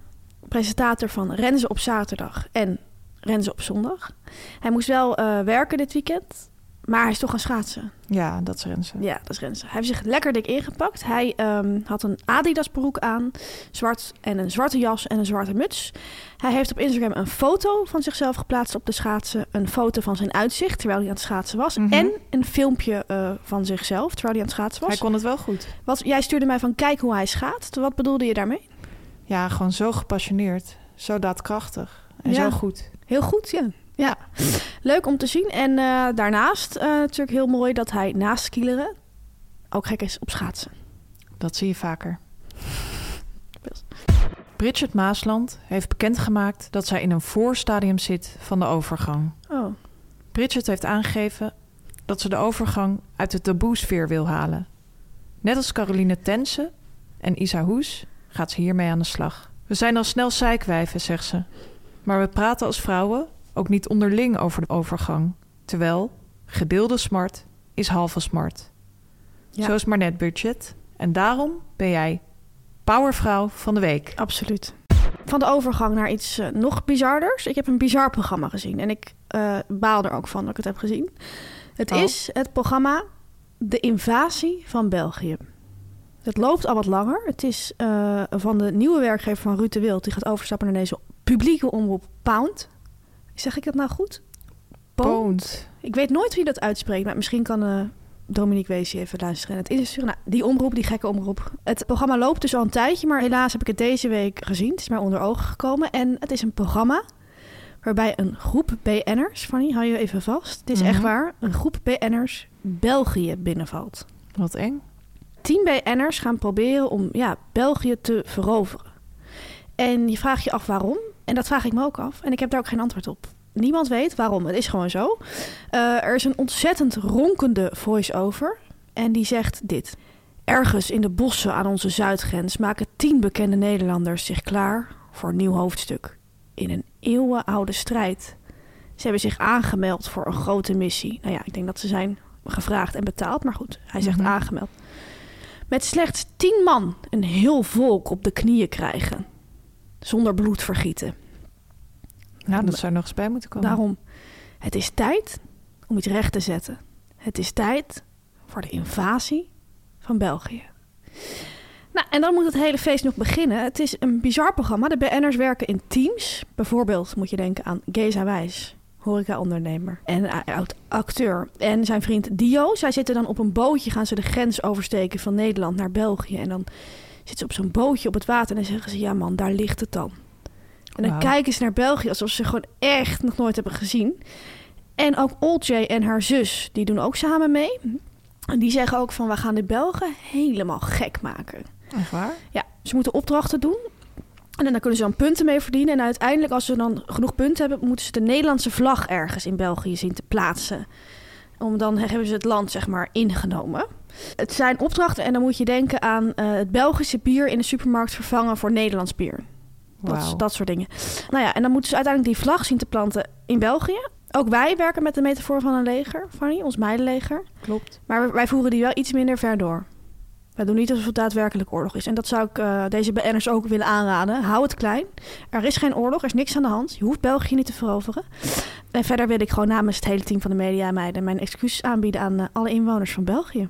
Speaker 2: Presentator van Renze op zaterdag en Renze op zondag. Hij moest wel eh, werken dit weekend, maar hij is toch gaan schaatsen.
Speaker 3: Ja, dat is Renze.
Speaker 2: Ja, dat is Renze. Hij heeft zich lekker dik ingepakt. Hij ehm, had een Adidas broek aan, zwart en een zwarte jas en een zwarte muts. Hij heeft op Instagram een foto van zichzelf geplaatst op de schaatsen. Een foto van zijn uitzicht terwijl hij aan het schaatsen was.
Speaker 3: Mhm.
Speaker 2: En een filmpje eh, van zichzelf terwijl hij aan het schaatsen
Speaker 3: Hij
Speaker 2: was.
Speaker 3: kon het wel goed.
Speaker 2: Wat, jij stuurde mij van kijk hoe hij schaatst. Wat bedoelde je daarmee?
Speaker 3: Ja, gewoon zo gepassioneerd. Zo daadkrachtig. En
Speaker 2: Ja.
Speaker 3: zo goed.
Speaker 2: Heel goed, ja. ja. Leuk om te zien. En eh, daarnaast eh, natuurlijk heel mooi dat hij naast skileren ook gek is op schaatsen.
Speaker 3: Dat zie je vaker.
Speaker 2: Best.
Speaker 3: Bridget Maasland heeft bekendgemaakt dat zij in een voorstadium zit van de overgang.
Speaker 2: Oh,
Speaker 3: Bridget heeft aangegeven dat ze de overgang uit de taboesfeer wil halen. Net als Caroline Tense en Isa Hoes gaat ze hiermee aan de slag. We zijn al snel zeikwijven, zegt ze. Maar we praten als vrouwen ook niet onderling over de overgang. Terwijl gedeelde smart is halve smart.
Speaker 2: Ja.
Speaker 3: Zo is maar net Bridget. En daarom ben jij powervrouw van de week.
Speaker 2: absoluut. Van de overgang naar iets eh, nog bizarders. Ik heb een bizar programma gezien. En ik eh, baal er ook van dat ik het heb gezien. Het
Speaker 3: Oh.
Speaker 2: is het programma De Invasie van België. Het loopt al wat langer. Het is eh, van de nieuwe werkgever van Ruud de Wild. Die gaat overstappen naar deze publieke omroep Pound. Zeg ik dat nou goed?
Speaker 3: Poont.
Speaker 2: Ik weet nooit wie dat uitspreekt, maar misschien kan eh, Dominique Weesje even luisteren. En het insturen. Nou, die omroep, die gekke omroep. Het programma loopt dus al een tijdje, maar helaas heb ik het deze week gezien. Het is mij onder ogen gekomen. En het is een programma waarbij een groep BN'ers, Fanny, hou je even vast. Het is echt
Speaker 3: Mhm.
Speaker 2: waar, een groep BN'ers België binnenvalt.
Speaker 3: Wat eng.
Speaker 2: Tien BN'ers gaan proberen om ja, België te veroveren. En je vraagt je af waarom. En dat vraag ik me ook af. En ik heb daar ook geen antwoord op. Niemand weet waarom. Het is gewoon zo. Eh, er is een ontzettend ronkende voice-over. En die zegt dit. Ergens in de bossen aan onze zuidgrens maken tien bekende Nederlanders zich klaar voor een nieuw hoofdstuk. In een eeuwenoude strijd. Ze hebben zich aangemeld voor een grote missie. Nou ja, ik denk dat ze zijn gevraagd en betaald. Maar goed, hij zegt
Speaker 3: Mhm.
Speaker 2: aangemeld. Met slechts tien man een heel volk op de knieën krijgen. Zonder bloed vergieten.
Speaker 3: Nou, dat zou er nog eens bij moeten komen.
Speaker 2: Daarom, het is tijd om iets recht te zetten. Het is tijd voor de invasie van België. Nou, en dan moet het hele feest nog beginnen. Het is een bizar programma. De BN'ers werken in teams. Bijvoorbeeld moet je denken aan Geza Wijs, horecaondernemer en eh, oud-acteur. En zijn vriend Dio. Zij zitten dan op een bootje, gaan ze de grens oversteken van Nederland naar België. En dan zitten ze op zo'n bootje op het water en dan zeggen ze... ja man, daar ligt het dan. En dan
Speaker 3: Wauw.
Speaker 2: kijken ze naar België alsof ze gewoon echt nog nooit hebben gezien. En ook Oljay en haar zus, die doen ook samen mee. En die zeggen ook van, we gaan de Belgen helemaal gek maken.
Speaker 3: Echt waar?
Speaker 2: Ja, ze moeten opdrachten doen. En dan kunnen ze dan punten mee verdienen. En uiteindelijk, als ze dan genoeg punten hebben, moeten ze de Nederlandse vlag ergens in België zien te plaatsen. Om dan hebben ze het land, zeg maar, ingenomen. Het zijn opdrachten en dan moet je denken aan eh, het Belgische bier in de supermarkt vervangen voor Nederlands bier. Dat,
Speaker 3: Wauw.
Speaker 2: dat soort dingen. Nou ja, en dan moeten ze uiteindelijk die vlag zien te planten in België. Ook wij werken met de metafoor van een leger, Fanny, ons meidenleger.
Speaker 3: Klopt.
Speaker 2: Maar wij voeren die wel iets minder ver door. Wij doen niet alsof het daadwerkelijk oorlog is. En dat zou ik eh, deze BN'ers ook willen aanraden. Hou het klein. Er is geen oorlog, er is niks aan de hand. Je hoeft België niet te veroveren. En verder wil ik gewoon namens het hele team van de media meiden mijn excuses aanbieden aan eh, alle inwoners van België.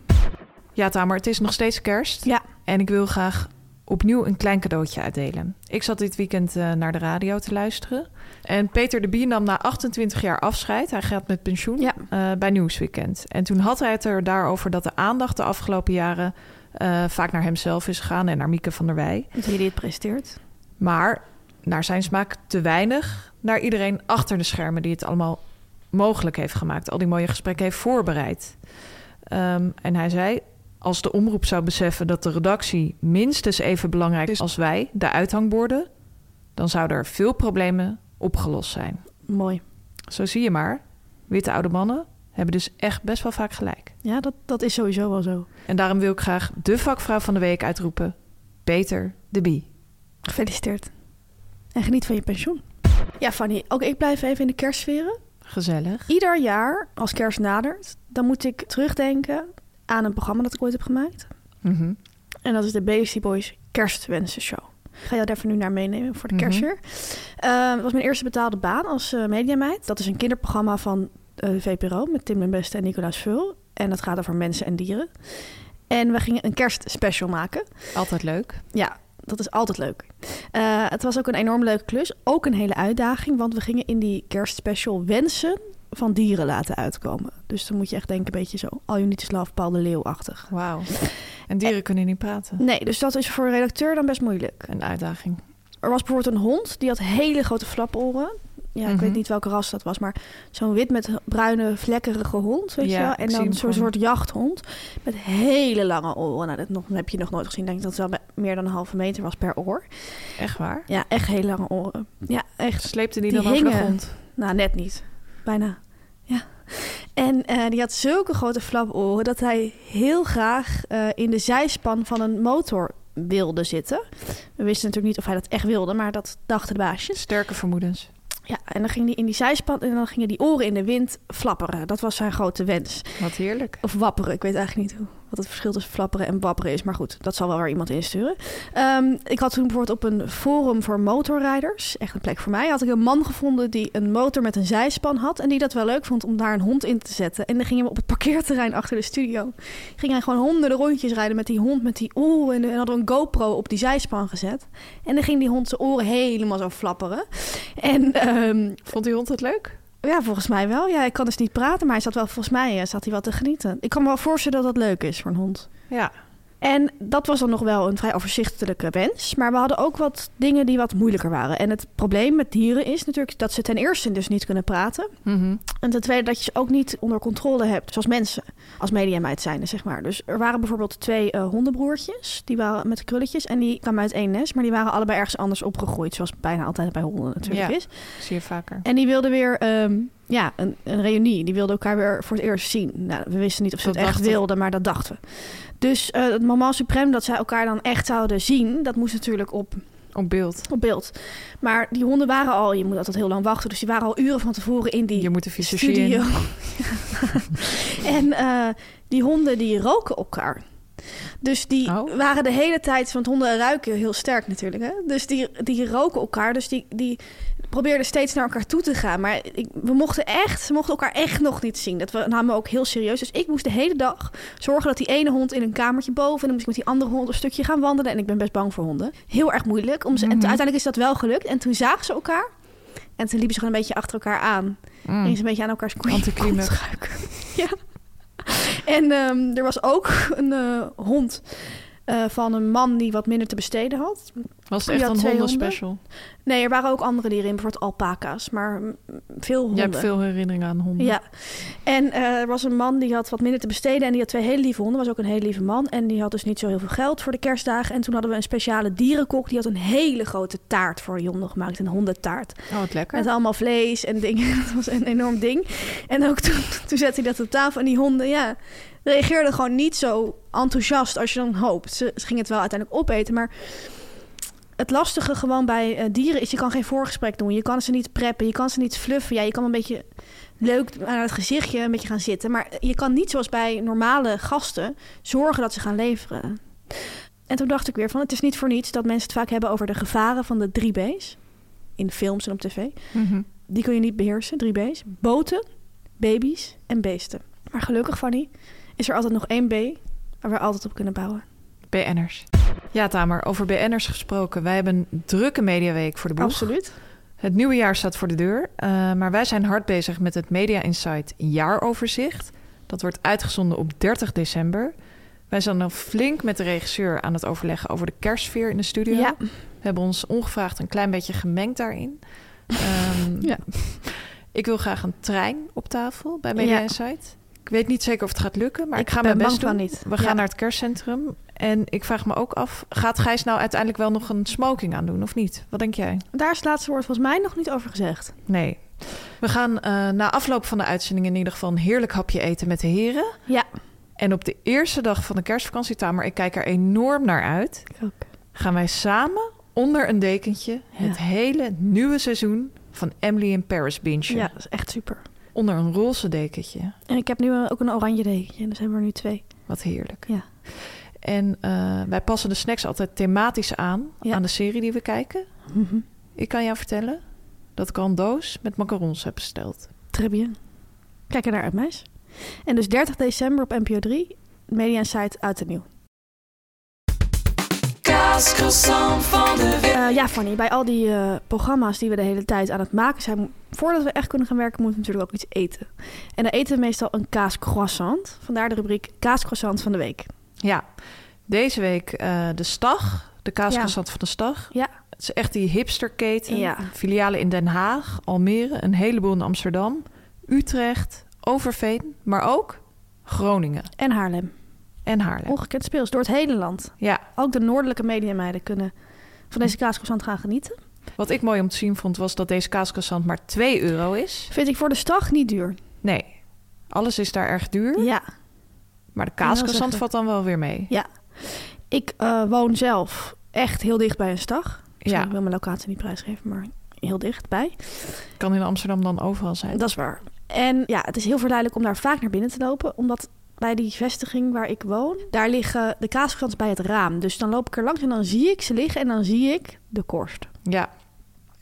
Speaker 3: Ja, Tamer, het is nog steeds kerst.
Speaker 2: Ja.
Speaker 3: En ik wil graag opnieuw een klein cadeautje uitdelen. Ik zat dit weekend eh, naar de radio te luisteren. En Peter de Bier nam na 28 jaar afscheid. Hij gaat met pensioen
Speaker 2: Ja.
Speaker 3: eh, bij Nieuwsweekend. En toen had hij het er daarover dat de aandacht de afgelopen jaren... eh, vaak naar hemzelf is gegaan en naar Mieke van der Wij.
Speaker 2: Dat jullie het presenteert.
Speaker 3: Maar naar zijn smaak te weinig naar iedereen achter de schermen die het allemaal mogelijk heeft gemaakt, al die mooie gesprekken heeft voorbereid. Ehm, en hij zei: als de omroep zou beseffen dat de redactie minstens even belangrijk is als wij, de uithangborden, dan zouden er veel problemen opgelost zijn.
Speaker 2: Mooi.
Speaker 3: Zo zie je maar, witte oude mannen hebben dus echt best wel vaak gelijk.
Speaker 2: Ja, dat, dat is sowieso wel zo.
Speaker 3: En daarom wil ik graag de vakvrouw van de week uitroepen: Peter de Bie.
Speaker 2: Gefeliciteerd. En geniet van je pensioen. Ja, Fanny, ook ik blijf even in de kerstsferen.
Speaker 3: Gezellig.
Speaker 2: Ieder jaar, als kerst nadert, dan moet ik terugdenken aan een programma dat ik ooit heb gemaakt.
Speaker 3: Mhm.
Speaker 2: En dat is de Beastie Boys Kerstwensenshow. Ik ga jou daar even nu naar meenemen voor de
Speaker 3: Mhm.
Speaker 2: kerstfeer. Eh, Het was mijn eerste betaalde baan als eh, mediameid. Dat is een kinderprogramma van eh, VPRO met Tim den Beste en Nicolaas Vul. En dat gaat over mensen en dieren. En we gingen een kerstspecial maken.
Speaker 3: Altijd leuk.
Speaker 2: Ja, dat is altijd leuk. Eh, het was ook een enorm leuke klus. Ook een hele uitdaging, want we gingen in die kerstspecial wensen van dieren laten uitkomen. Dus dan moet je echt denken, een beetje zo All You Need Is Love, Paul de Leeuw-achtig.
Speaker 3: Wauw. En dieren kunnen niet praten.
Speaker 2: Nee, dus dat is voor een redacteur dan best moeilijk.
Speaker 3: Een uitdaging.
Speaker 2: Er was bijvoorbeeld een hond, die had hele grote flaporen. Ja, ik
Speaker 3: Mhm.
Speaker 2: weet niet welke ras dat was, maar zo'n wit met bruine vlekkerige hond, weet
Speaker 3: Ja,
Speaker 2: je wel.
Speaker 3: ik
Speaker 2: En
Speaker 3: zie
Speaker 2: dan
Speaker 3: hem
Speaker 2: zo'n
Speaker 3: voor
Speaker 2: soort jachthond met hele lange oren. Nou, dat nog, heb je nog nooit gezien. Ik denk dat het wel bij- meer dan een halve meter was per oor.
Speaker 3: Echt waar?
Speaker 2: Ja, echt hele lange oren. Ja, echt.
Speaker 3: Sleepte die,
Speaker 2: Die
Speaker 3: dan over de
Speaker 2: hingen.
Speaker 3: grond?
Speaker 2: Nou, net niet. Bijna. Ja. En eh, die had zulke grote flaporen dat hij heel graag eh, in de zijspan van een motor wilde zitten. We wisten natuurlijk niet of hij dat echt wilde, maar dat dachten de baasjes.
Speaker 3: Sterke vermoedens.
Speaker 2: Ja, en dan ging hij in die zijspan en dan gingen die oren in de wind flapperen. Dat was zijn grote wens.
Speaker 3: Wat heerlijk.
Speaker 2: Of wapperen, ik weet eigenlijk niet hoe, wat het verschil tussen flapperen en wapperen is. Maar goed, dat zal wel waar iemand insturen. Ehm, ik had toen bijvoorbeeld op een forum voor motorrijders, echt een plek voor mij, had ik een man gevonden die een motor met een zijspan had. En die dat wel leuk vond om daar een hond in te zetten. En dan gingen we op het parkeerterrein achter de studio. Ging hij gewoon honderden rondjes rijden met die hond, met die oren. En dan hadden we een GoPro op die zijspan gezet. En dan ging die hond zijn oren helemaal zo flapperen. En ehm,
Speaker 3: Vond die hond het leuk?
Speaker 2: ja, volgens mij wel. Ja, ik kan dus niet praten, maar hij zat wel volgens mij eh, zat hij wel te genieten. Ik kan me wel voorstellen dat dat leuk is voor een hond.
Speaker 3: Ja.
Speaker 2: En dat was dan nog wel een vrij overzichtelijke wens. Maar we hadden ook wat dingen die wat moeilijker waren. En het probleem met dieren is natuurlijk dat ze ten eerste dus niet kunnen praten.
Speaker 3: Mhm.
Speaker 2: En ten tweede dat je ze ook niet onder controle hebt, zoals mensen, als mediameid zijnde, zeg maar. Dus er waren bijvoorbeeld twee eh, hondenbroertjes, die waren met krulletjes. En die kwamen uit één nest, maar die waren allebei ergens anders opgegroeid. Zoals bijna altijd bij honden natuurlijk
Speaker 3: Ja.
Speaker 2: is.
Speaker 3: Zie je vaker.
Speaker 2: En die wilden weer ehm, ja, een, een reunie. Die wilden elkaar weer voor het eerst zien. Nou, we wisten niet of ze
Speaker 3: Dat
Speaker 2: het echt
Speaker 3: dachten we.
Speaker 2: wilden, maar dat dachten we. Dus eh, het moment suprem dat zij elkaar dan echt zouden zien, dat moest natuurlijk op,
Speaker 3: Op beeld.
Speaker 2: op beeld. Maar die honden waren al, je moet altijd heel lang wachten, dus die waren al uren van tevoren in die
Speaker 3: Je moet de fysiologie
Speaker 2: studio.
Speaker 3: in.
Speaker 2: en eh, die honden die roken elkaar. Dus die
Speaker 3: Oh.
Speaker 2: waren de hele tijd, want honden ruiken heel sterk natuurlijk. Hè? Dus die, die roken elkaar. Dus die, die probeerden steeds naar elkaar toe te gaan. Maar ik, we mochten echt, ze mochten elkaar echt nog niet zien. Dat we, namen we ook heel serieus. Dus ik moest de hele dag zorgen dat die ene hond in een kamertje boven. En dan moest ik met die andere hond een stukje gaan wandelen. En ik ben best bang voor honden. Heel erg moeilijk. Om ze, En
Speaker 3: Mhm.
Speaker 2: toen- uiteindelijk is dat wel gelukt. En toen zagen ze elkaar. En toen liepen ze gewoon een beetje achter elkaar aan.
Speaker 3: Mm.
Speaker 2: En eens een beetje aan elkaars koeien
Speaker 3: Anticlimax.
Speaker 2: kont ruiken. ja. En ehm, er was ook een eh, hond eh, van een man die wat minder te besteden had.
Speaker 3: Was
Speaker 2: Je
Speaker 3: het echt
Speaker 2: had
Speaker 3: een
Speaker 2: twee
Speaker 3: hondenspecial?
Speaker 2: Nee, er waren ook andere dieren in, bijvoorbeeld alpaca's, maar mm, veel honden.
Speaker 3: Je hebt veel herinneringen aan honden.
Speaker 2: Ja. En eh, er was een man die had wat minder te besteden en die had twee hele lieve honden. Was ook een hele lieve man en die had dus niet zo heel veel geld voor de kerstdagen. En toen hadden we een speciale dierenkok die had een hele grote taart voor die honden gemaakt, een hondentaart.
Speaker 3: Oh, wat lekker.
Speaker 2: Met allemaal vlees en dingen. Dat was een enorm ding. En ook toen, toen zette hij dat op tafel. En die honden, ja, reageerden gewoon niet zo enthousiast als je dan hoopt. Ze, ze gingen het wel uiteindelijk opeten. Maar het lastige gewoon bij eh, dieren is, je kan geen voorgesprek doen. Je kan ze niet preppen, je kan ze niet fluffen. Ja, je kan een beetje leuk aan het gezichtje een beetje gaan zitten. Maar je kan niet zoals bij normale gasten zorgen dat ze gaan leveren. En toen dacht ik weer van, het is niet voor niets dat mensen het vaak hebben over de gevaren van de 3B's. In films en op tv.
Speaker 3: Mhm.
Speaker 2: Die kun je niet beheersen, 3B's. Boten, baby's en beesten. Maar gelukkig, Fanny, is er altijd nog één B waar we altijd op kunnen bouwen.
Speaker 3: BN'ers. Ja, Tamer, over BN'ers gesproken. Wij hebben een drukke mediaweek voor de
Speaker 2: Oh,
Speaker 3: boeg.
Speaker 2: Absoluut.
Speaker 3: Het nieuwe jaar staat voor de deur, eh, maar wij zijn hard bezig met het Media Insight jaaroverzicht. Dat wordt uitgezonden op 30 december. Wij zijn al flink met de regisseur aan het overleggen over de kerstsfeer in de studio.
Speaker 2: Ja.
Speaker 3: We hebben ons ongevraagd een klein beetje gemengd daarin. Ehm,
Speaker 2: Ja.
Speaker 3: Ik wil graag een trein op tafel bij Media
Speaker 2: Ja.
Speaker 3: Insight. Ik weet niet zeker of het gaat lukken, maar ik,
Speaker 2: Ik
Speaker 3: ga
Speaker 2: ben
Speaker 3: mijn best
Speaker 2: bang
Speaker 3: doen.
Speaker 2: van niet.
Speaker 3: We gaan
Speaker 2: Ja.
Speaker 3: naar het kerstcentrum. En ik vraag me ook af, gaat Gijs nou uiteindelijk wel nog een smoking aan doen of niet? Wat denk jij?
Speaker 2: Daar is het laatste woord volgens mij nog niet over gezegd.
Speaker 3: Nee. We gaan eh, na afloop van de uitzending in ieder geval een heerlijk hapje eten met de heren.
Speaker 2: Ja,
Speaker 3: En op de eerste dag van de kerstvakantie, Tamer, ik kijk er enorm naar uit.
Speaker 2: ik ook.
Speaker 3: Gaan wij samen onder een dekentje het hele nieuwe seizoen van Emily in Paris bintje.
Speaker 2: Ja, dat is echt super.
Speaker 3: Onder een roze dekentje.
Speaker 2: En ik heb nu eh, ook een oranje dekentje. En er zijn er nu twee.
Speaker 3: Wat heerlijk.
Speaker 2: Ja.
Speaker 3: En eh, wij passen de snacks altijd thematisch aan
Speaker 2: Ja.
Speaker 3: aan de serie die we kijken.
Speaker 2: Mhm.
Speaker 3: Ik kan jou vertellen dat ik al een doos met macarons heb besteld.
Speaker 2: Très bien. Kijk er naar uit, meis. En dus 30 december op NPO 3. Media Site uit en nieuw.
Speaker 4: Kaas croissant van de week.
Speaker 2: Eh, ja, Fanny, bij al die eh, programma's die we de hele tijd aan het maken zijn, mo- voordat we echt kunnen gaan werken, moeten we natuurlijk ook iets eten. En dan eten we meestal een kaascroissant. Vandaar de rubriek kaascroissant van de week.
Speaker 3: Ja, deze week eh, de Stag, de kaascroissant van de Stag.
Speaker 2: Ja.
Speaker 3: Het is echt die hipsterketen.
Speaker 2: Ja.
Speaker 3: Filialen in Den Haag, Almere, een heleboel in Amsterdam, Utrecht, Overveen, maar ook Groningen
Speaker 2: En Haarlem.
Speaker 3: en Haarlem.
Speaker 2: Ongekend speels door het hele land.
Speaker 3: Ja,
Speaker 2: Ook de noordelijke mediameiden kunnen van deze kaascroissant gaan genieten.
Speaker 3: wat ik mooi om te zien vond was dat deze kaascroissant maar 2 euro is.
Speaker 2: Vind ik voor de stag niet duur.
Speaker 3: Nee, alles is daar erg duur.
Speaker 2: Ja.
Speaker 3: Maar
Speaker 2: Ja,
Speaker 3: de
Speaker 2: dat is
Speaker 3: kaascroissant
Speaker 2: echt-
Speaker 3: valt dan wel weer mee.
Speaker 2: Ja. Ik eh, woon zelf echt heel dicht bij een stag. Sorry,
Speaker 3: Ja.
Speaker 2: Ik wil mijn locatie niet prijsgeven, maar heel dichtbij.
Speaker 3: Kan in Amsterdam dan overal zijn.
Speaker 2: Dat is waar. En ja, het is heel verleidelijk om daar vaak naar binnen te lopen, omdat bij die vestiging waar ik woon, daar liggen de kaaskrans bij het raam. Dus dan loop ik er langs en dan zie ik ze liggen en dan zie ik de korst.
Speaker 3: Ja.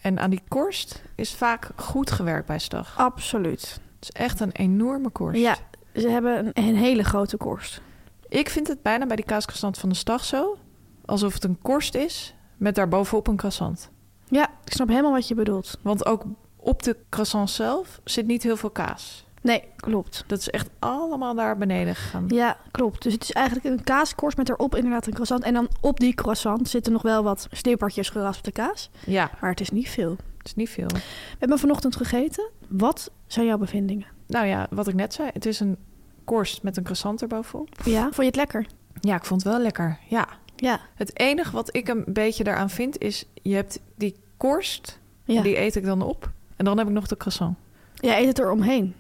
Speaker 3: En aan die korst is vaak goed gewerkt bij Stag.
Speaker 2: Absoluut.
Speaker 3: Het is echt een enorme korst.
Speaker 2: Ja, ze hebben een, een hele grote korst.
Speaker 3: Ik vind het bijna bij die kaascroissant van de Stag zo... alsof het een korst is met daarbovenop een croissant.
Speaker 2: Ja, ik snap helemaal wat je bedoelt.
Speaker 3: Want ook op de croissant zelf zit niet heel veel kaas.
Speaker 2: Nee, klopt.
Speaker 3: Dat is echt allemaal daar beneden gegaan.
Speaker 2: Ja, klopt. Dus het is eigenlijk een kaaskorst met erop inderdaad een croissant. En dan op die croissant zitten nog wel wat snippertjes geraspte kaas.
Speaker 3: Ja,
Speaker 2: Maar het is niet veel.
Speaker 3: het is niet veel.
Speaker 2: We hebben vanochtend gegeten. Wat zijn jouw bevindingen?
Speaker 3: Nou ja, wat ik net zei. Het is een korst met een croissant erbovenop.
Speaker 2: Ja, vond je het lekker?
Speaker 3: Ja, ik vond het wel lekker. Ja.
Speaker 2: Ja.
Speaker 3: Het enige wat ik een beetje daaraan vind is... je hebt die korst,
Speaker 2: Ja,
Speaker 3: die eet ik dan op. En dan heb ik nog de croissant.
Speaker 2: ja eet het eromheen.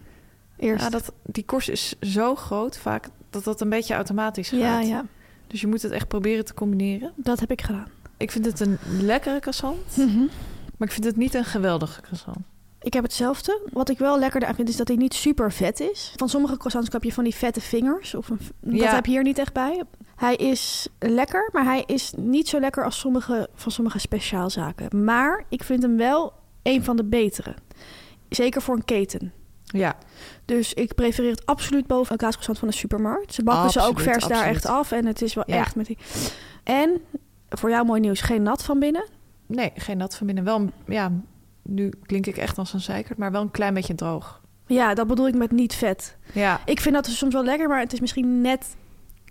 Speaker 2: Eerst.
Speaker 3: Ja, dat, die korst is zo groot vaak dat dat een beetje automatisch gaat.
Speaker 2: ja, ja,
Speaker 3: Dus je moet het echt proberen te combineren.
Speaker 2: dat heb ik gedaan.
Speaker 3: Ik vind het een lekkere croissant, maar ik vind het niet een geweldige croissant.
Speaker 2: Ik heb hetzelfde. Wat ik wel lekker aan vind is dat hij niet super vet is. Van sommige croissants heb je van die vette vingers. Of een, Dat
Speaker 3: Ja.
Speaker 2: heb je hier niet echt bij. Hij is lekker, maar hij is niet zo lekker als sommige, van sommige speciaalzaken. Maar ik vind hem wel een van de betere. Zeker voor een keten.
Speaker 3: Ja,
Speaker 2: Dus ik prefereer het absoluut boven een kaascroissant van de supermarkt. Ze bakken ze ook
Speaker 3: Absoluut,
Speaker 2: vers daar
Speaker 3: absoluut.
Speaker 2: echt af. En het is wel
Speaker 3: Ja.
Speaker 2: echt met die... En, voor jou mooi nieuws, geen nat van binnen.
Speaker 3: nee, geen nat van binnen. Wel, een- ja, nu klink ik echt als een zeikert, maar wel een klein beetje droog.
Speaker 2: Ja, dat bedoel ik met niet vet.
Speaker 3: Ja,
Speaker 2: Ik vind dat soms wel lekker, maar het is misschien net...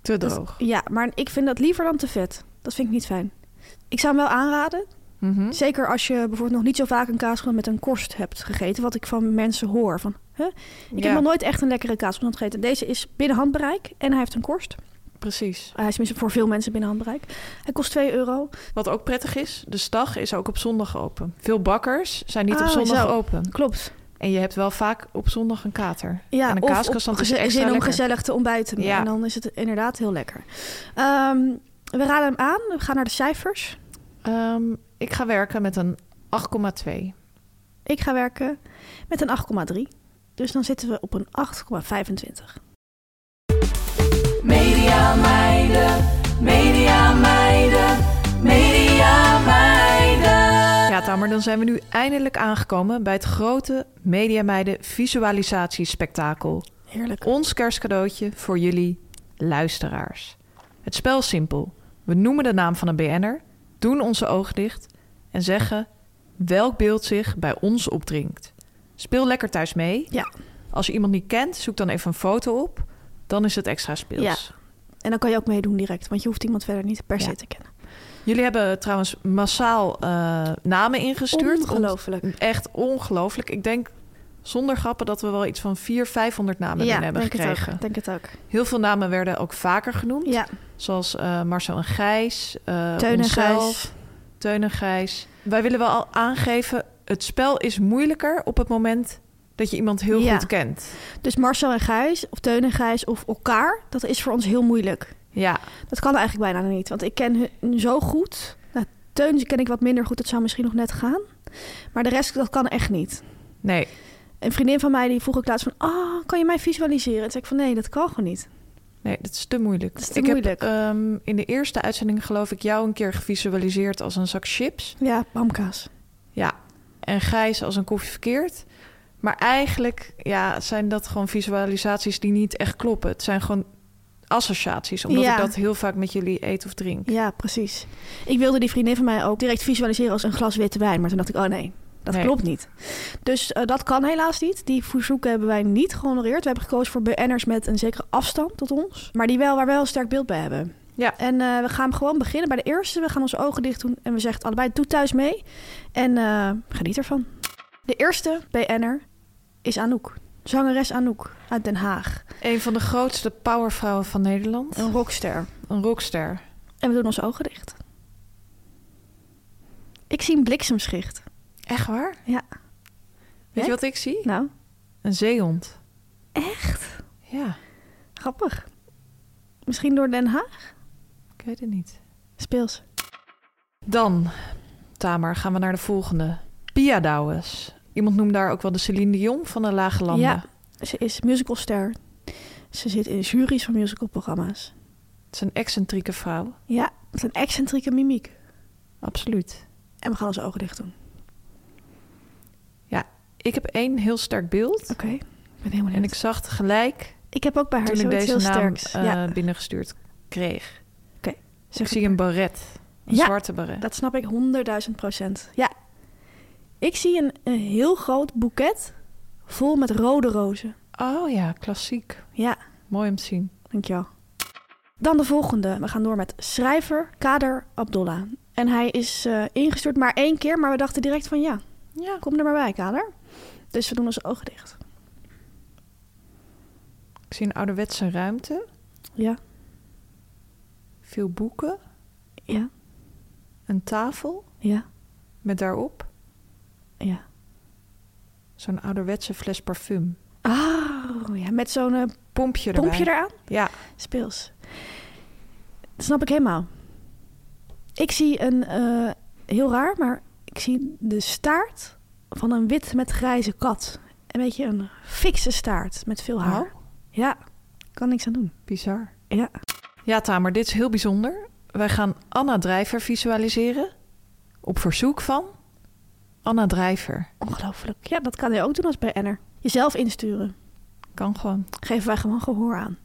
Speaker 3: te
Speaker 2: Dus
Speaker 3: droog.
Speaker 2: Ja, maar ik vind dat liever dan te vet. Dat vind ik niet fijn. Ik zou hem wel aanraden.
Speaker 3: Mhm.
Speaker 2: Zeker als je bijvoorbeeld nog niet zo vaak een kaaskrant met een korst hebt gegeten. Wat ik van mensen hoor. Van, hè? Ik
Speaker 3: Ja.
Speaker 2: heb nog nooit echt een lekkere kaaskrant gegeten. Deze is binnen handbereik en hij heeft een korst. Eh,
Speaker 3: Precies.
Speaker 2: Hij is tenminste voor veel mensen binnen handbereik. Hij kost 2 euro.
Speaker 3: Wat ook prettig is, de stag is ook op zondag open. Veel bakkers zijn niet op
Speaker 2: Ah,
Speaker 3: zondag
Speaker 2: zo.
Speaker 3: open.
Speaker 2: Klopt.
Speaker 3: En je hebt wel vaak op zondag een kater.
Speaker 2: Ja,
Speaker 3: en een
Speaker 2: of
Speaker 3: kaascroissant
Speaker 2: op
Speaker 3: is
Speaker 2: geze-
Speaker 3: extra
Speaker 2: zin om
Speaker 3: lekker.
Speaker 2: gezellig te ontbijten.
Speaker 3: Ja.
Speaker 2: En dan is het inderdaad heel lekker. Ehm, we raden hem aan. We gaan naar de cijfers.
Speaker 3: Ehm, ik ga werken met een 8,2.
Speaker 2: Ik ga werken met een 8,3. Dus dan zitten we op een 8,25.
Speaker 4: Media meiden, media meiden, media meiden.
Speaker 3: Ja, Tamer, dan zijn we nu eindelijk aangekomen bij het grote Mediameiden visualisatiespektakel.
Speaker 2: Heerlijk.
Speaker 3: Ons kerstcadeautje voor jullie luisteraars. Het spel is simpel. We noemen de naam van een BN'er, doen onze ogen dicht en zeggen welk beeld zich bij ons opdringt. Speel lekker thuis mee.
Speaker 2: Ja.
Speaker 3: Als je iemand niet kent, zoek dan even een foto op. Dan is het extra speels.
Speaker 2: Ja. En dan kan je ook meedoen direct. Want je hoeft iemand verder niet per se
Speaker 3: Ja. Ah,
Speaker 2: te kennen.
Speaker 3: Jullie hebben trouwens massaal eh, namen ingestuurd.
Speaker 2: Ongelooflijk.
Speaker 3: Echt ongelooflijk. Ik denk zonder grappen dat we wel iets van 400, 500 namen
Speaker 2: ja,
Speaker 3: binnen hebben
Speaker 2: denk het,
Speaker 3: gekregen.
Speaker 2: ook, denk het ook.
Speaker 3: Heel veel namen werden ook vaker genoemd.
Speaker 2: Ja,
Speaker 3: Zoals eh, Marcel en Gijs, eh
Speaker 2: Teun en
Speaker 3: onszelf,
Speaker 2: Gijs.
Speaker 3: Teun en Gijs. Wij willen wel al aangeven, het spel is moeilijker op het moment dat je iemand heel
Speaker 2: Ja.
Speaker 3: goed kent.
Speaker 2: Dus Marcel en Gijs, of Teun en Gijs, of elkaar. Dat is voor ons heel moeilijk.
Speaker 3: Ja,
Speaker 2: Dat kan eigenlijk bijna niet. Want ik ken hun zo goed. Nou, Teun ken ik wat minder goed. Dat zou misschien nog net gaan. Maar de rest, dat kan echt niet.
Speaker 3: Nee,
Speaker 2: Een vriendin van mij die vroeg ook laatst van... Oh, kan je mij visualiseren? Toen zei ik van nee, dat kan gewoon niet.
Speaker 3: nee, dat is te moeilijk.
Speaker 2: Dat is te
Speaker 3: ik
Speaker 2: moeilijk.
Speaker 3: heb ehm, in de eerste uitzending geloof ik jou een keer gevisualiseerd als een zak chips.
Speaker 2: Ja, bamkaas.
Speaker 3: Ja, en Gijs als een koffie verkeerd. Maar eigenlijk ja, zijn dat gewoon visualisaties die niet echt kloppen. Het zijn gewoon associaties, omdat
Speaker 2: Ja.
Speaker 3: ik dat heel vaak met jullie eet of drink.
Speaker 2: Ja, precies. Ik wilde die vriendin van mij ook direct visualiseren als een glas witte wijn. Maar toen dacht ik, oh nee, dat
Speaker 3: Nee.
Speaker 2: klopt niet. Dus eh, dat kan helaas niet. Die verzoeken hebben wij niet gehonoreerd. We hebben gekozen voor BN'ers met een zekere afstand tot ons. Maar die wel, waar we wel een sterk beeld bij hebben.
Speaker 3: Ja.
Speaker 2: En eh, we gaan gewoon beginnen bij de eerste. We gaan onze ogen dicht doen en we zeggen allebei, doe thuis mee. En eh, geniet ervan. De eerste BN'er is Anouk. Zangeres Anouk uit Den Haag.
Speaker 3: Een van de grootste powervrouwen van Nederland.
Speaker 2: Een rockster.
Speaker 3: Een rockster.
Speaker 2: En we doen onze ogen dicht. Ik zie een bliksemschicht.
Speaker 3: Echt waar?
Speaker 2: Ja.
Speaker 3: Weet
Speaker 2: Echt?
Speaker 3: je wat ik zie?
Speaker 2: Nou,
Speaker 3: Een zeehond.
Speaker 2: echt?
Speaker 3: Ja,
Speaker 2: Grappig. Misschien door Den Haag?
Speaker 3: ik weet het niet.
Speaker 2: Speels.
Speaker 3: Dan, Tamer, gaan we naar de volgende. Pia Douwes. Iemand noemt daar ook wel de Celine Dion van de Lage Landen.
Speaker 2: Ja. Ze is musicalster. Ze zit in juries van musicalprogramma's.
Speaker 3: Het is een excentrieke vrouw.
Speaker 2: Ja, het is een excentrieke mimiek.
Speaker 3: Absoluut.
Speaker 2: En we gaan onze ogen dicht doen.
Speaker 3: Ja, ik heb één heel sterk beeld.
Speaker 2: Oké. Ik ben helemaal
Speaker 3: En
Speaker 2: in.
Speaker 3: ik zag het gelijk
Speaker 2: Ik heb ook bij haar
Speaker 3: toen ik
Speaker 2: zoiets
Speaker 3: deze
Speaker 2: heel
Speaker 3: naam
Speaker 2: sterks.
Speaker 3: eh,
Speaker 2: ja,
Speaker 3: binnengestuurd kreeg.
Speaker 2: zeg
Speaker 3: ik zie een baret. Een
Speaker 2: Ja.
Speaker 3: zwarte baret.
Speaker 2: Dat snap ik 100.000 procent. Ja. Ik zie een, een heel groot boeket vol met rode rozen.
Speaker 3: Oh ja, klassiek.
Speaker 2: Ja.
Speaker 3: Mooi om te zien.
Speaker 2: Dankjewel. Dan de volgende. We gaan door met schrijver Kader Abdullah. En hij is eh, ingestuurd maar één keer, maar we dachten direct van ja,
Speaker 3: Ja.
Speaker 2: kom er maar bij Kader. Dus we doen onze ogen dicht.
Speaker 3: Ik zie een ouderwetse ruimte.
Speaker 2: Ja,
Speaker 3: Veel boeken.
Speaker 2: ja,
Speaker 3: Een tafel
Speaker 2: ja,
Speaker 3: met daarop
Speaker 2: ja.
Speaker 3: zo'n ouderwetse fles parfum.
Speaker 2: Oh, ja, met zo'n eh,
Speaker 3: Pompje erbij.
Speaker 2: pompje eraan.
Speaker 3: Ja,
Speaker 2: Speels. Dat snap ik helemaal. Ik zie een, eh, heel raar, maar ik zie de staart van een wit met grijze kat. Een beetje een fikse staart met veel haar.
Speaker 3: Oh.
Speaker 2: Ja, kan niks aan doen.
Speaker 3: bizar.
Speaker 2: Ja.
Speaker 3: Ja, Tamer, dit is heel bijzonder. Wij gaan Anna Drijver visualiseren. Op verzoek van Anna Drijver.
Speaker 2: Ongelooflijk. Ja, dat kan je ook doen als bij Enner. Jezelf insturen.
Speaker 3: Kan gewoon.
Speaker 2: Geven wij gewoon gehoor aan.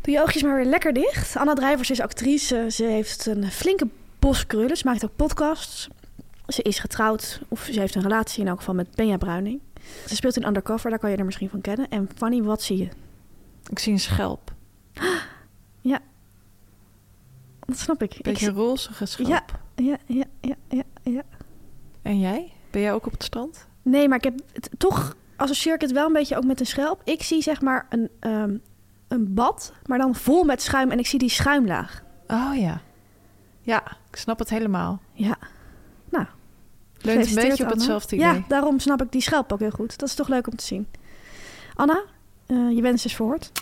Speaker 2: Doe je oogjes maar weer lekker dicht. Anna Drijvers is actrice. Ze heeft een flinke bos krullen. Ze maakt ook podcasts. Ze is getrouwd, of ze heeft een relatie in elk geval met Benja Bruining. Ze speelt in Undercover, daar kan je er misschien van kennen. En Fanny, wat zie je?
Speaker 3: Ik zie een schelp.
Speaker 2: Dat snap ik. ik
Speaker 3: Beetje
Speaker 2: zie-
Speaker 3: een rozige schelp.
Speaker 2: Ja. ja, ja, ja, ja, ja.
Speaker 3: En jij? Ben jij ook op het strand?
Speaker 2: Nee, maar ik heb het, toch associeer ik het wel een beetje ook met een schelp. Ik zie zeg maar een, ehm, een bad, maar dan vol met schuim. En ik zie die schuimlaag.
Speaker 3: Oh ja. Ja, ik snap het helemaal.
Speaker 2: Ja.
Speaker 3: Leunt een
Speaker 2: Gefeliciteerd,
Speaker 3: beetje op
Speaker 2: Anna.
Speaker 3: hetzelfde idee.
Speaker 2: Ja, daarom snap ik die schelp ook heel goed. Dat is toch leuk om te zien. Anna, eh, je wens is verhoord.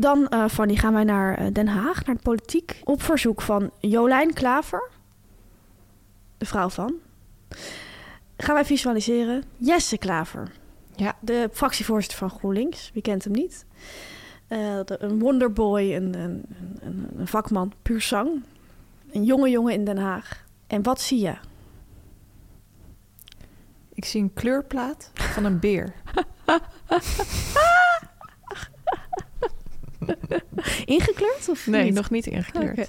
Speaker 2: Dan, eh Fanny, gaan wij naar eh, Den Haag, naar de politiek. Op verzoek van Jolijn Klaver, de vrouw van. Gaan wij visualiseren Jesse Klaver.
Speaker 3: Ja.
Speaker 2: De fractievoorzitter van GroenLinks. Wie kent hem niet? Eh, de- een wonderboy, een, een, een, een vakman, puur zang. Een jonge jongen in Den Haag. En wat zie je?
Speaker 3: Ik zie een kleurplaat van een beer.
Speaker 2: Ingekleurd of
Speaker 3: Nee,
Speaker 2: niet?
Speaker 3: nog niet ingekleurd.
Speaker 2: Oké.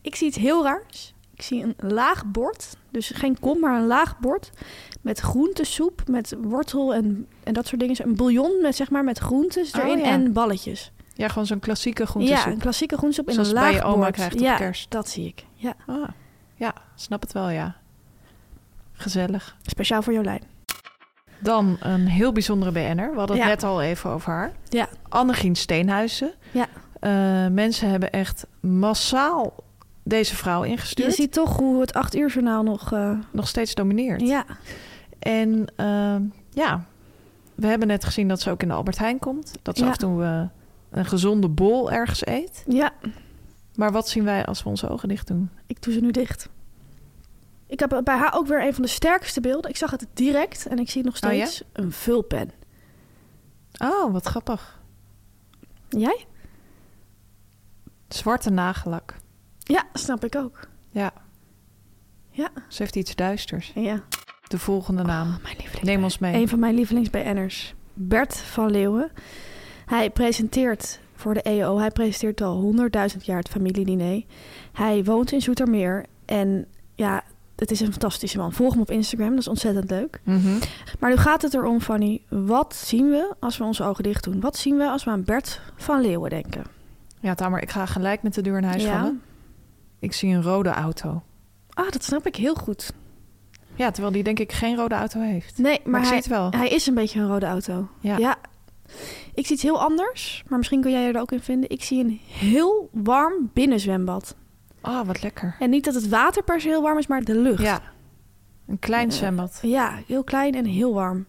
Speaker 2: Ik zie iets heel raars. Ik zie een laag bord, dus geen kom, maar een laag bord met groentesoep, met wortel en, en dat soort dingen. Een bouillon met, zeg maar, met groentes
Speaker 3: Oh,
Speaker 2: erin
Speaker 3: ja.
Speaker 2: en balletjes.
Speaker 3: Ja, gewoon zo'n klassieke groentesoep.
Speaker 2: Ja, een klassieke groentesoep in
Speaker 3: Zoals
Speaker 2: een
Speaker 3: bij
Speaker 2: laag
Speaker 3: je oma
Speaker 2: bord.
Speaker 3: krijgt op
Speaker 2: ja,
Speaker 3: kerst.
Speaker 2: dat zie ik. Ja,
Speaker 3: Ah, ja, snap het wel, ja. Gezellig.
Speaker 2: speciaal voor Jolijn.
Speaker 3: Dan een heel bijzondere BN'er. We hadden het
Speaker 2: Ja.
Speaker 3: net al even over haar.
Speaker 2: Ja.
Speaker 3: Annegien Steenhuizen.
Speaker 2: Ja.
Speaker 3: Eh, mensen hebben echt massaal deze vrouw
Speaker 2: Je
Speaker 3: ingestuurd.
Speaker 2: ziet toch hoe het acht uur journaal nog... eh,
Speaker 3: Nog steeds domineert.
Speaker 2: ja,
Speaker 3: En eh, ja, we hebben net gezien dat ze ook in de Albert Heijn komt. Dat ze
Speaker 2: Ja.
Speaker 3: af en toe eh, een gezonde bol ergens eet.
Speaker 2: ja,
Speaker 3: Maar wat zien wij als we onze ogen dicht doen?
Speaker 2: ik doe ze nu dicht. Ik heb bij haar ook weer een van de sterkste beelden. Ik zag het direct en ik zie nog
Speaker 3: Oh ja?
Speaker 2: steeds een vulpen.
Speaker 3: Oh, wat grappig.
Speaker 2: Jij?
Speaker 3: Zwarte nagellak.
Speaker 2: Ja, snap ik ook.
Speaker 3: Ja.
Speaker 2: Ja.
Speaker 3: Ze heeft iets duisters.
Speaker 2: Ja.
Speaker 3: De volgende naam.
Speaker 2: Oh, mijn lieveling.
Speaker 3: Neem ons mee.
Speaker 2: Een van mijn lievelingsbn'ers, Bert van Leeuwen. Hij presenteert voor de EO, hij presenteert al 100.000 jaar het familiediner. Hij woont in Zoetermeer en ja, het is een fantastische man. Volg hem op Instagram, dat is ontzettend leuk.
Speaker 3: Mhm.
Speaker 2: Maar nu gaat het erom, Fanny, wat zien we als we onze ogen dicht doen? Wat zien we als we aan Bert van Leeuwen denken?
Speaker 3: Ja, Tamer, ik ga gelijk met de deur in huis
Speaker 2: Ja.
Speaker 3: vallen. Ik zie een rode auto.
Speaker 2: Ah, dat snap ik heel goed.
Speaker 3: Ja, terwijl die denk ik geen rode auto heeft.
Speaker 2: Nee, maar,
Speaker 3: Maar ik
Speaker 2: hij,
Speaker 3: zie het wel.
Speaker 2: hij is een beetje een rode auto.
Speaker 3: Ja.
Speaker 2: Ik zie iets heel anders, maar misschien kun jij je er ook in vinden. Ik zie een heel warm binnenzwembad.
Speaker 3: Oh, wat lekker.
Speaker 2: En niet dat het water per se heel warm is, maar de lucht.
Speaker 3: Ja. Een klein
Speaker 2: Ja.
Speaker 3: zwembad.
Speaker 2: Ja, heel klein en heel warm.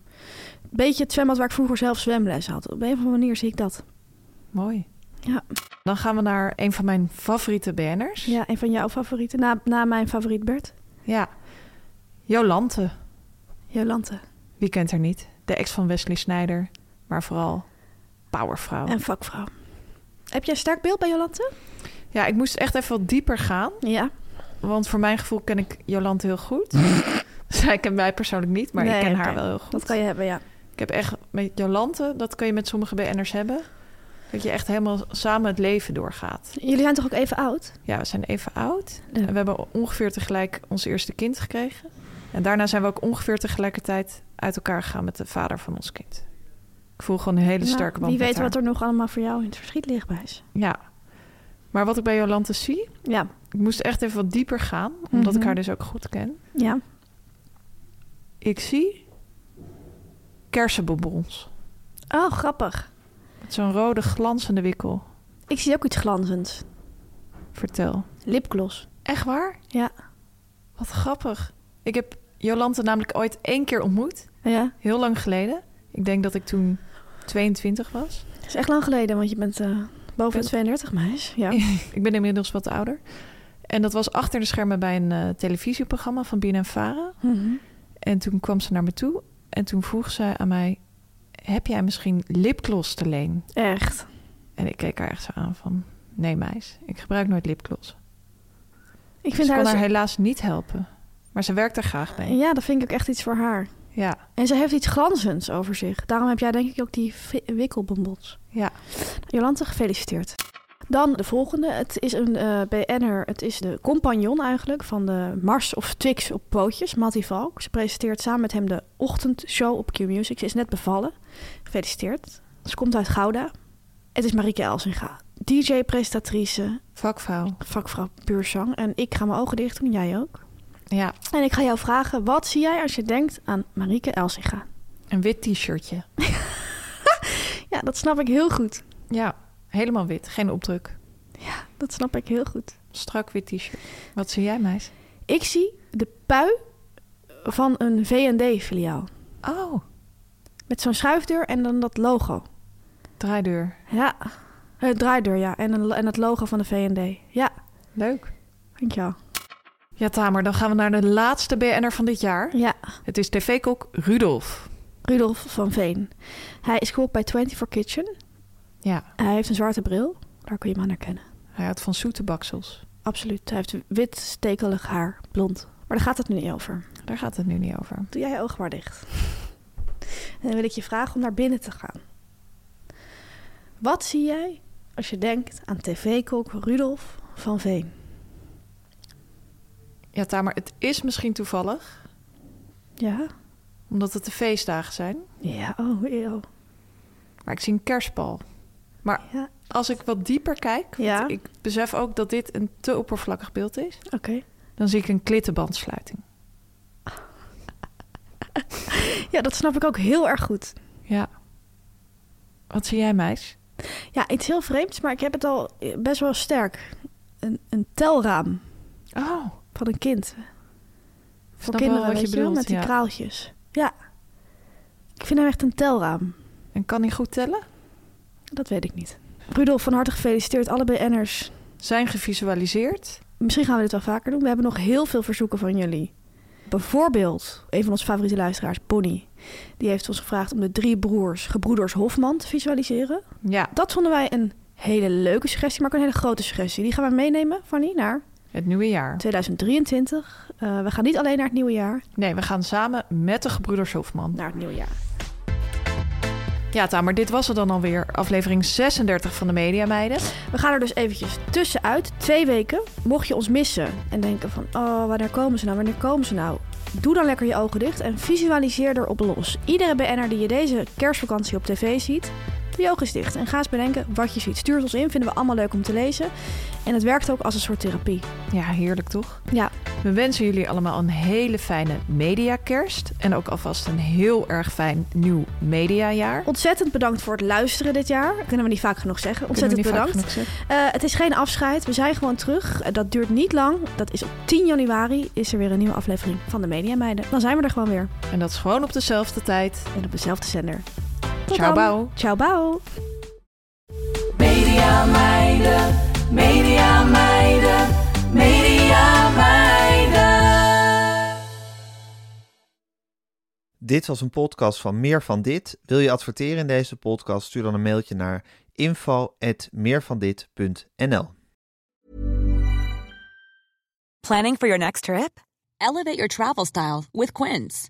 Speaker 2: Beetje het zwembad waar ik vroeger zelf zwemles had. Op een of andere manier zie ik dat.
Speaker 3: Mooi.
Speaker 2: Ja.
Speaker 3: Dan gaan we naar een van mijn favoriete banners.
Speaker 2: Ja, een van jouw favorieten. Na, na mijn favoriet Bert.
Speaker 3: Ja. Jolante.
Speaker 2: Jolante.
Speaker 3: Wie kent haar niet? De ex van Wesley Snijder. Maar vooral powervrouw.
Speaker 2: En vakvrouw. Heb jij een sterk beeld bij Jolante?
Speaker 3: Ja, ik moest echt even wat dieper gaan.
Speaker 2: Ja.
Speaker 3: Want voor mijn gevoel ken ik Jolante heel goed. Zij kent mij persoonlijk niet, maar
Speaker 2: Nee,
Speaker 3: ik ken haar
Speaker 2: oké.
Speaker 3: wel heel goed.
Speaker 2: Dat kan je hebben, ja.
Speaker 3: Ik heb echt met Jolante, dat kun je met sommige BN'ers hebben. Dat je echt helemaal samen het leven doorgaat.
Speaker 2: Jullie zijn toch ook even oud?
Speaker 3: Ja, we zijn even oud.
Speaker 2: Ja.
Speaker 3: En we hebben ongeveer tegelijk ons eerste kind gekregen. En daarna zijn we ook ongeveer tegelijkertijd uit elkaar gegaan met de vader van ons kind. Ik voel gewoon een hele
Speaker 2: Nou,
Speaker 3: sterke band
Speaker 2: Wie
Speaker 3: met
Speaker 2: weet
Speaker 3: haar.
Speaker 2: wat er nog allemaal voor jou in het verschiet ligt bij is.
Speaker 3: Ja. Maar wat ik bij Jolante zie...
Speaker 2: Ja.
Speaker 3: Ik moest echt even wat dieper gaan, omdat ik
Speaker 2: Mhm.
Speaker 3: haar dus ook goed ken.
Speaker 2: Ja.
Speaker 3: Ik zie kersenbonbons.
Speaker 2: Oh, grappig.
Speaker 3: Met zo'n rode glanzende wikkel.
Speaker 2: Ik zie ook iets glanzends.
Speaker 3: Vertel.
Speaker 2: Lipgloss.
Speaker 3: Echt waar?
Speaker 2: Ja.
Speaker 3: Wat grappig. Ik heb Jolante namelijk ooit één keer ontmoet.
Speaker 2: Oh, Ja.
Speaker 3: Heel lang geleden. Ik denk dat ik toen 22 was.
Speaker 2: Dat is echt lang geleden, want je bent eh, boven de
Speaker 3: Ben-
Speaker 2: 32, meis. Ja.
Speaker 3: Ik ben inmiddels wat ouder. En dat was achter de schermen bij een eh, televisieprogramma van BNN Vara.
Speaker 2: Mhm.
Speaker 3: En toen kwam ze naar me toe. En toen vroeg zij aan mij... Heb jij misschien lipgloss te leen?
Speaker 2: Echt.
Speaker 3: En ik keek haar echt zo aan van... Nee meis, ik gebruik nooit lipgloss.
Speaker 2: Ik
Speaker 3: Ik
Speaker 2: vind
Speaker 3: ze
Speaker 2: haar...
Speaker 3: kon haar
Speaker 2: dus-
Speaker 3: helaas niet helpen. Maar ze werkt er graag mee.
Speaker 2: Ja, dat vind ik ook echt iets voor haar.
Speaker 3: Ja,
Speaker 2: En ze heeft iets glanzends over zich. Daarom heb jij denk ik ook die vi- wikkelbonbons.
Speaker 3: ja.
Speaker 2: Jolante, gefeliciteerd. Dan de volgende. Het is een eh BN'er. Het is de compagnon eigenlijk van de Mars of Twix op pootjes, Mattie Valk. Ze presenteert samen met hem de ochtendshow op Q-Music. Ze is net bevallen. Gefeliciteerd. Ze komt uit Gouda. Het is Marieke Elsinga. DJ-presentatrice,
Speaker 3: Vakvrouw.
Speaker 2: vakvrouw puur zang. En ik ga mijn ogen dicht doen, jij ook.
Speaker 3: Ja,
Speaker 2: En ik ga jou vragen, wat zie jij als je denkt aan Marieke Elsinga?
Speaker 3: een wit t-shirtje.
Speaker 2: Ja, dat snap ik heel goed.
Speaker 3: Ja, helemaal wit. Geen opdruk.
Speaker 2: Dat snap ik heel goed.
Speaker 3: Strak wit t-shirt. Wat zie jij, meis?
Speaker 2: Ik zie de pui van een V&D-filiaal.
Speaker 3: Oh,
Speaker 2: Met zo'n schuifdeur en dan dat logo.
Speaker 3: draaideur.
Speaker 2: Ja, het draaideur, ja. En, een, en het logo van de V&D. Ja,
Speaker 3: Leuk.
Speaker 2: dankjewel.
Speaker 3: Ja, Tamer, dan gaan we naar de laatste BN'er van dit jaar.
Speaker 2: Ja,
Speaker 3: Het is tv-kok Rudolf.
Speaker 2: Rudolf van Veen. Hij is kok bij 24 Kitchen.
Speaker 3: Ja,
Speaker 2: Hij heeft een zwarte bril. Daar kun je hem aan herkennen.
Speaker 3: hij houdt van zoete baksels.
Speaker 2: Absoluut. Hij heeft wit, stekelig haar. Blond. Maar daar gaat het nu niet over.
Speaker 3: Daar gaat het nu niet over.
Speaker 2: Doe jij je ogen maar dicht. En dan wil ik je vragen om naar binnen te gaan. Wat zie jij als je denkt aan tv-kok Rudolf van Veen?
Speaker 3: Ja, Tamer, het is misschien toevallig,
Speaker 2: Ja?
Speaker 3: omdat het de feestdagen zijn.
Speaker 2: Ja, oh, eeuw.
Speaker 3: Maar ik zie een kerstbal. Maar
Speaker 2: Ja,
Speaker 3: als ik wat dieper kijk, want
Speaker 2: Ja.
Speaker 3: ik besef ook dat dit een te oppervlakkig beeld is,
Speaker 2: oké.
Speaker 3: dan zie ik een klittenbandsluiting.
Speaker 2: Ja, dat snap ik ook heel erg goed.
Speaker 3: Ja. Wat zie jij, meis?
Speaker 2: Ja, iets heel vreemds, maar ik heb het al eh, best wel sterk. Een, een telraam
Speaker 3: Oh,
Speaker 2: van een kind. Voor
Speaker 3: snap
Speaker 2: kinderen,
Speaker 3: wel wat
Speaker 2: weet
Speaker 3: je
Speaker 2: wel,
Speaker 3: bedoelt.
Speaker 2: met die
Speaker 3: ja.
Speaker 2: kraaltjes. Ja. Ik vind hem echt een telraam.
Speaker 3: En kan hij goed tellen?
Speaker 2: Dat weet ik niet. Rudolf, van harte gefeliciteerd. Alle BN'ers
Speaker 3: Zijn gevisualiseerd.
Speaker 2: Misschien gaan we dit wel vaker doen. We hebben nog heel veel verzoeken van jullie. Bijvoorbeeld, een van onze favoriete luisteraars, Bonnie, die heeft ons gevraagd om de drie broers, gebroeders Hofman, te visualiseren.
Speaker 3: Ja,
Speaker 2: Dat vonden wij een hele leuke suggestie, maar ook een hele grote suggestie. Die gaan we meenemen, Fanny, naar
Speaker 3: het nieuwe jaar.
Speaker 2: 2023. Eh, we gaan niet alleen naar het nieuwe jaar,
Speaker 3: Nee, we gaan samen met de gebroeders Hofman.
Speaker 2: naar het nieuwe jaar.
Speaker 3: Ja, Tamer, dit was het dan alweer. Aflevering 36 van de Media Meiden.
Speaker 2: We gaan er dus eventjes tussenuit, twee weken. Mocht je ons missen en denken van, oh, wanneer komen ze nou, wanneer komen ze nou? Doe dan lekker je ogen dicht en visualiseer erop los. Iedere BN'er die je deze kerstvakantie op tv ziet, doe je ogen eens dicht. En ga eens bedenken wat je ziet. Stuur het ons in, vinden we allemaal leuk om te lezen. En het werkt ook als een soort therapie.
Speaker 3: Ja, heerlijk toch?
Speaker 2: Ja,
Speaker 3: We wensen jullie allemaal een hele fijne mediakerst. En ook alvast een heel erg fijn nieuw mediajaar.
Speaker 2: ontzettend bedankt voor het luisteren dit jaar. Kunnen we niet vaak genoeg zeggen.
Speaker 3: Kunnen we
Speaker 2: Ontzettend
Speaker 3: niet vaak
Speaker 2: bedankt.
Speaker 3: genoeg zeggen.
Speaker 2: Eh, het is geen afscheid, we zijn gewoon terug. Eh, dat duurt niet lang. Dat is op 10 januari is er weer een nieuwe aflevering van de Media Meiden. Dan zijn we er gewoon weer.
Speaker 3: En dat is gewoon op dezelfde tijd.
Speaker 2: En op dezelfde zender. Tot
Speaker 3: Ciao,
Speaker 2: dan.
Speaker 3: bouw.
Speaker 2: Ciao, bouw.
Speaker 4: Media meiden, media meiden, media meiden.
Speaker 5: Dit was een podcast van Meer van Dit. Wil je adverteren in deze podcast? Stuur dan een mailtje naar info.meervandit.nl
Speaker 1: Planning for your next trip?
Speaker 6: Elevate your travel style with Quince.